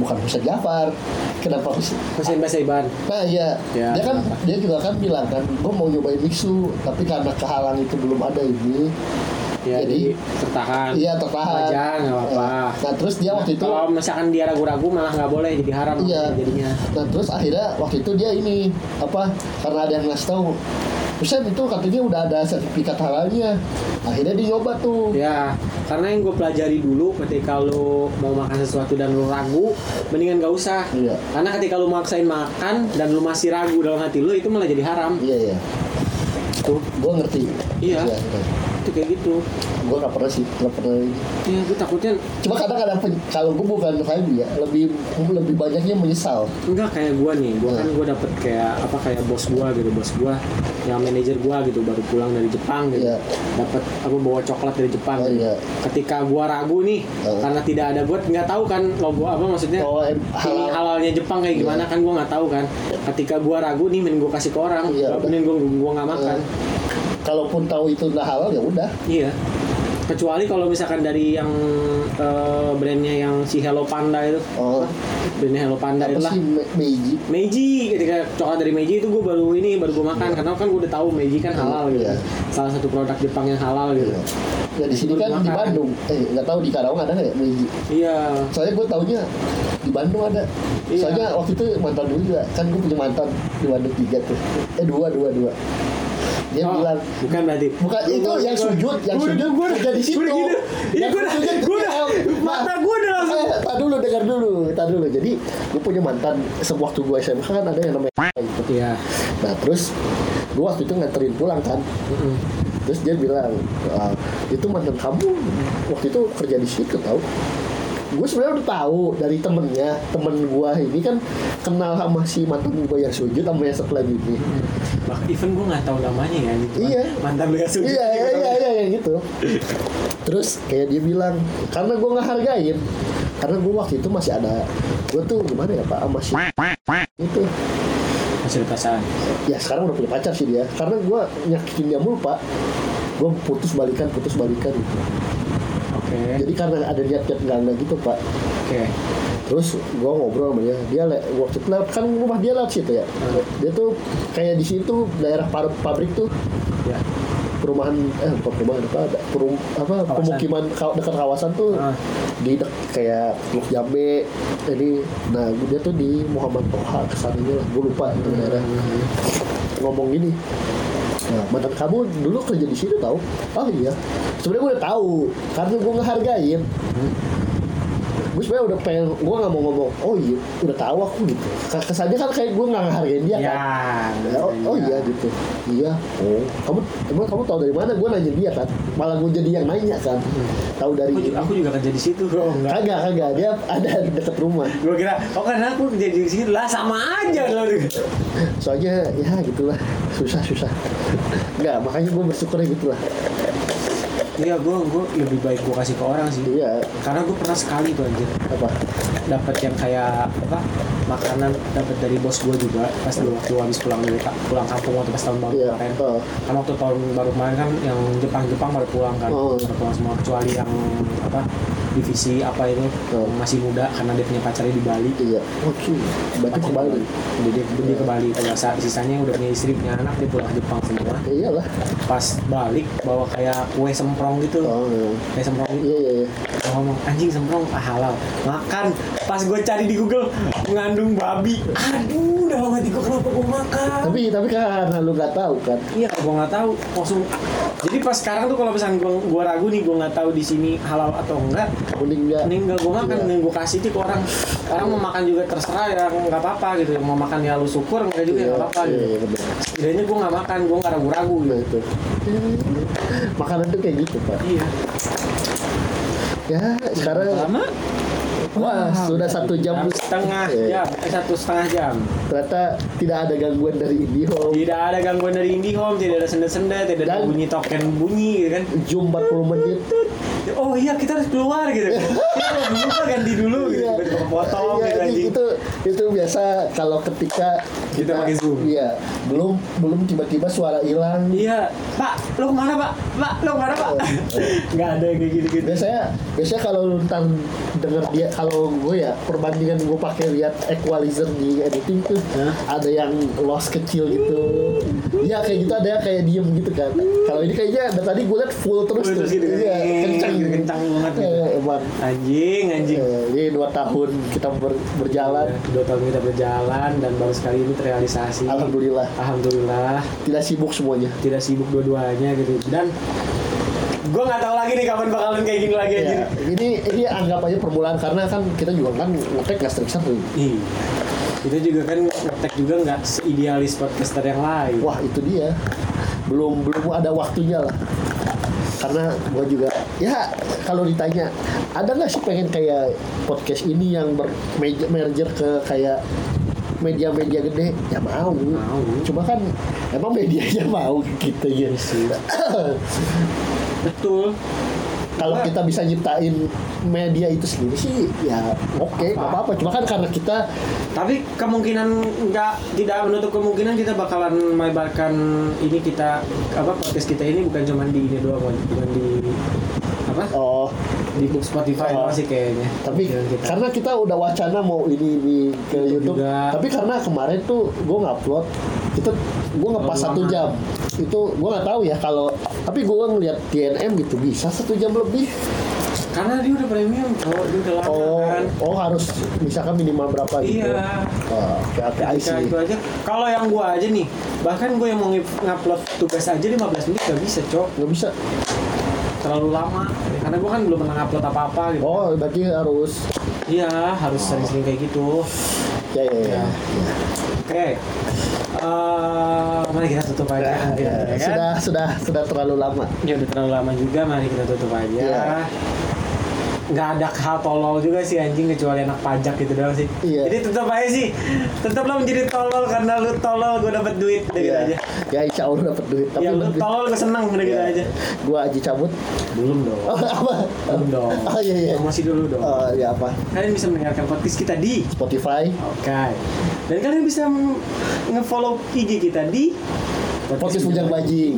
bukan Husain Jafar, kenapa Husain? Hussein Basaiban Nah iya, Ya, dia kan kenapa? dia juga kan bilang kan, gua mau nyobain biksu, tapi karena kehalang itu belum ada ini, ya Jadi- jadi, tertahan iya tertahan. aja Kan nggak apa-apa Nah terus dia waktu itu, Kalau misalkan dia ragu-ragu malah nggak boleh jadi haram Iya. jadinya. Nah terus akhirnya waktu itu dia ini apa karena ada yang ngasih tahu Husain itu katanya udah ada sertifikat halalnya. Akhirnya dia nyoba tuh. Ya, karena yang gue pelajari dulu ketika lo mau makan sesuatu dan lo ragu, mendingan gak usah. Iya. Karena ketika lo maksain makan dan lo masih ragu dalam hati lo itu malah jadi haram. Iya iya. Tuh, gue ngerti. Iya. Itu kayak gitu. Gue gak pernah sih, gak pernah. ini. Ya, gue takutnya Cuma kadang-kadang pen- kalau gue bukan vibe ya, lebih lebih banyaknya menyesal. enggak kayak gua nih gua kan Hmm. gua dapet kayak apa kayak bos gua gitu bos gua yang manajer gua gitu baru pulang dari Jepang gitu Iya. dapat apa bawa coklat dari Jepang Oh, gitu. iya. ketika gua ragu nih Hmm. karena tidak ada gua nggak tahu kan logo apa maksudnya Oh, em- ini halal. halalnya Jepang kayak Iya. gimana kan gua nggak tahu kan ketika gua ragu nih mending gua kasih ke orang Iya, udah. mending gua gua nggak makan Eh, kalaupun tahu itu udah halal ya udah. Iya. Kecuali kalau misalkan dari yang eh, brandnya yang si Hello Panda itu. Oh. Brandnya Hello Panda Apa itu lah. sih me- Meiji? Meiji ketika coklat dari Meiji itu gue baru ini baru gue makan karena kan gue udah tahu Meiji kan halal gitu Iya. salah satu produk Jepang yang halal gitu Iya. Ya di sini kan di Makan. Bandung. Eh nggak tahu di Karawang ada nggak ya Meiji? iya Soalnya gue taunya di Bandung ada. Iya. Soalnya waktu itu mantan dulu juga kan gue punya mantan di Bandung tiga tuh. Eh dua dua dua. dia Oh, bilang bukan berarti bukan itu yang sujud yang Gua- sujud gua- kerja di situ gua udah gini. Ini Yang gua udah- sujud gua udah- Nah, mata gua udah langsung- eh, tar dulu dengar dulu tar dulu jadi gue punya mantan sewaktu gue SMA kan ada yang namanya itu iya Nah terus gue waktu itu nganterin pulang kan Terus dia bilang "Ah, Itu mantan kamu waktu itu kerja di situ tau Gue sebenarnya udah tahu dari temennya Temen gue ini kan kenal sama si mantan gue yang sujud sama yang setelah ini Bah, even gue nggak tahu namanya ya gitu kan. Iya. mantan lu yang sujud Iya iya iya iya kayak gitu Terus kayak dia bilang Karena gue gak hargain Karena gue waktu itu masih ada Gue tuh gimana ya pak Masih itu masih ada perasaan ya sekarang udah punya pacar sih dia karena gue nyakitin dia mulu pak gue putus balikan putus balikan gitu. oke jadi karena ada niat-niat nggak nggak gitu pak oke terus gue ngobrol sama dia dia le- waktu itu lewat kan rumah dia lewat situ ya dia tuh kayak di situ daerah par- pabrik tuh ya perumahan eh bukan perumahan apa ada perum, apa Kawasan. pemukiman ka- dekat kawasan tuh Ah. di dek- kayak Teluk Jambe ini nah dia tuh di Muhammad Toha kesananya lah gue lupa itu daerah ngomong gini Nah, mantan kamu dulu kerja di situ tau? Oh iya, sebenarnya gue udah tahu karena gue ngehargain. Gue sebenarnya udah pengen, gue nggak mau ngomong. Oh iya, udah tahu aku gitu. Ke- Kesannya kan kayak gue nggak ngehargain dia Iya. kan. Ya, oh, oh iya gitu. Iya. Oh, kamu emang kamu tahu dari mana? Gue nanya dia kan. Malah gue jadi yang nanya kan. Tahu dari aku juga, aku juga kerja di situ bro enggak kagak kagak dia ada dekat rumah. gue kira oh karena aku kerja di situ lah sama aja lo Soalnya ya gitulah susah susah. Enggak, makanya gue bersyukur gitu lah. iya gue gue lebih baik gue kasih ke orang sih Iya karena gue pernah sekali tuh anjir apa? dapat yang kayak apa makanan dapat dari bos gue juga pas dulu waktu habis pulang dari ka- pulang kampung waktu pas tahun baru Iya. kemarin Oh. kan waktu tahun baru kemarin kan yang Jepang Jepang baru pulang kan Oh. baru pulang semua kecuali yang apa divisi apa itu Oh. yang masih muda karena dia punya pacarnya di Bali Iya. Oke. Berarti Pacarnya kembali. di Bali. dia, dia, dia ke Bali kalau sa- sisanya udah punya istri punya anak dia pulang ke Jepang semua Ya, iyalah. pas balik bawa kayak kue semprong gitu Oh, iya. kue semprong gitu Iya iya iya. Gua ngomong anjing semprong ah, halal makan pas gue cari di Google mengandung babi aduh dalam hati gue kenapa gue makan Tapi tapi karena lu nggak tahu kan. iya kalau gue nggak tahu langsung jadi pas sekarang tuh kalau misalnya gue gua ragu nih gue nggak tahu di sini halal atau enggak Mending nggak. mending nggak gue makan Iya. mending gue kasih sih ke orang orang mau makan juga terserah ya nggak apa-apa gitu mau makan ya lu syukur nggak juga Iya, ya nggak apa-apa iya, gitu iya, benar. setidaknya gue nggak makan gue nggak ragu-ragu Nah, gitu itu. Makanan tuh kayak gitu pak. iya Ya sekarang lama wah sudah satu jam setengah Iya. jam eh, satu setengah jam Ternyata tidak ada gangguan dari IndiHome. Tidak ada gangguan dari IndiHome, tidak ada sendat-sendat, tidak ada Dan- bunyi token bunyi gitu kan. Zoom 40 menit. Oh iya kita harus keluar gitu. (laughs) Kita harus keluar ganti dulu gitu. Iya. Tiba-tiba potong Iya, gitu anjing. itu itu biasa kalau ketika Kita pakai Zoom. Iya, belum belum tiba-tiba suara hilang. Iya, Pak, lo kemana Pak? Pak, lo kemana Oh. Pak? (laughs) Nggak ada yang kayak gitu-gitu. biasanya biasanya kalau lu ntar denger dia kalau gue ya perbandingan gue pakai lihat equalizer di editing tuh Hah? ada yang loss kecil gitu ya kayak gitu ada yang kayak diem gitu kan kalau ini kayaknya dari tadi gue liat full terus Full tuh terus gitu kan. iya kencang Gitu, kencang banget gitu. Eh, emang Anjing, anjing. Eh, ini dua tahun kita ber- berjalan Ya, Dua tahun kita berjalan dan baru sekali ini terrealisasi. alhamdulillah Alhamdulillah. tidak sibuk semuanya tidak sibuk dua-duanya gitu dan gue nggak tahu lagi nih kapan bakalan kayak gini lagi anjir. Ya, ini ini anggap aja permulaan karena kan kita juga kan ngetek nggak sering-sering. Iya. Itu juga kan ngetek juga nggak seidealis podcaster yang lain. Wah itu dia belum belum ada waktunya lah karena gue juga ya kalau ditanya ada nggak sih pengen kayak podcast ini yang ber meja- merger ke kayak media-media gede ya mau. Mau. cuma kan emang medianya mau gitu ya Iya sih. Betul. (coughs) kalau kita bisa nyiptain media itu sendiri sih ya oke nggak apa-apa cuma kan karena kita Tapi kemungkinan nggak tidak menutup kemungkinan kita bakalan melebarkan ini kita apa podcast kita ini bukan cuma di ini doang, Wan. bukan di apa oh di book Spotify Oh. doang sih kayaknya. Iya, gitu. tapi kan- Kemungkinan kita. karena kita udah wacana mau ini ini ke YouTube, juga. tapi karena kemarin tuh gue ngupload itu gue ngepas Terlalu satu lama. jam itu gue nggak tahu ya kalau tapi gue ngeliat TNM gitu bisa satu jam lebih karena dia udah premium cowok dia udah lama Oh, kan oh harus misalkan minimal berapa gitu? Iya. Oh, kayak Ya, API sih. itu aja. Kalau yang gua aja nih, bahkan gua yang mau ngip- ngupload tugas aja 15 menit gak bisa, Cok. Nggak bisa. Terlalu lama. Karena gua kan belum pernah ngupload apa-apa gitu. Oh, berarti harus. Iya, harus sering-sering kayak gitu. Ya, ya, ya. Ya. Oke. Eh, mari kita tutup Ya, aja. mungkin, ya. ya kan? Sudah, sudah, sudah terlalu lama. Ya udah terlalu lama juga, mari kita tutup aja. Iya. Nggak ada hal tolol juga sih anjing kecuali anak pajak gitu doang sih. Iya. Jadi tetap aja sih, tetap lo menjadi tolol karena lu tolol gue dapet duit udah gitu aja. Ya, insya Allah dapat duit. Tapi ya lu lebih- tolol gue seneng udah gitu Ya. aja. Gua aja cabut. Belum dong. Oh, (laughs) apa? Belum dong. Oh, iya, iya. Promosi dulu dong. Eh, ya apa? Kalian bisa mendengarkan podcast kita di Spotify. Oke. Dan kalian bisa m- nge-follow IG kita di Podcast Bujang Iya. Bajing.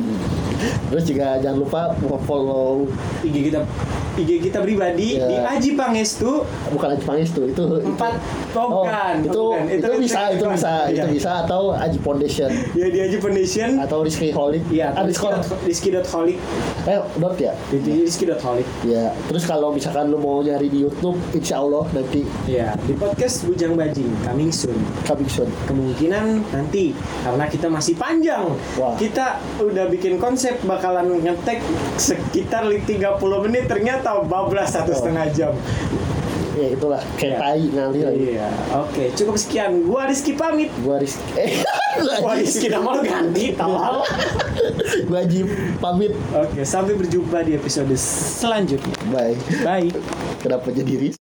Terus juga jangan lupa follow IG kita IG kita pribadi Iya. di Aji Pangestu bukan Aji Pangestu itu empat Oh, togan itu, itu, bisa, itu bisa, itu Iya. bisa atau Aji Foundation Ya di Aji Foundation. atau Rizky Holic Iya, Ah, atau Rizky Holic. Rizky- Rizky.holic. eh dot ya Jadi Rizky.holic. ya terus kalau misalkan lu mau nyari di YouTube Insya Allah nanti Iya, di podcast Bujang Bajing coming soon. coming soon kemungkinan nanti karena kita masih panjang Wah. kita udah bikin konsep bakalan ngetek sekitar li- 30 menit ternyata bablas Oh. satu setengah jam ya itulah kayak Iya. tai ngalir aja. iya oke cukup sekian gua Rizky pamit gua Rizky (laughs) eh gua gua Aji Rizky nama lu ganti tolol gua Aji pamit oke sampai berjumpa di episode selanjutnya bye bye kenapa jadi Rizky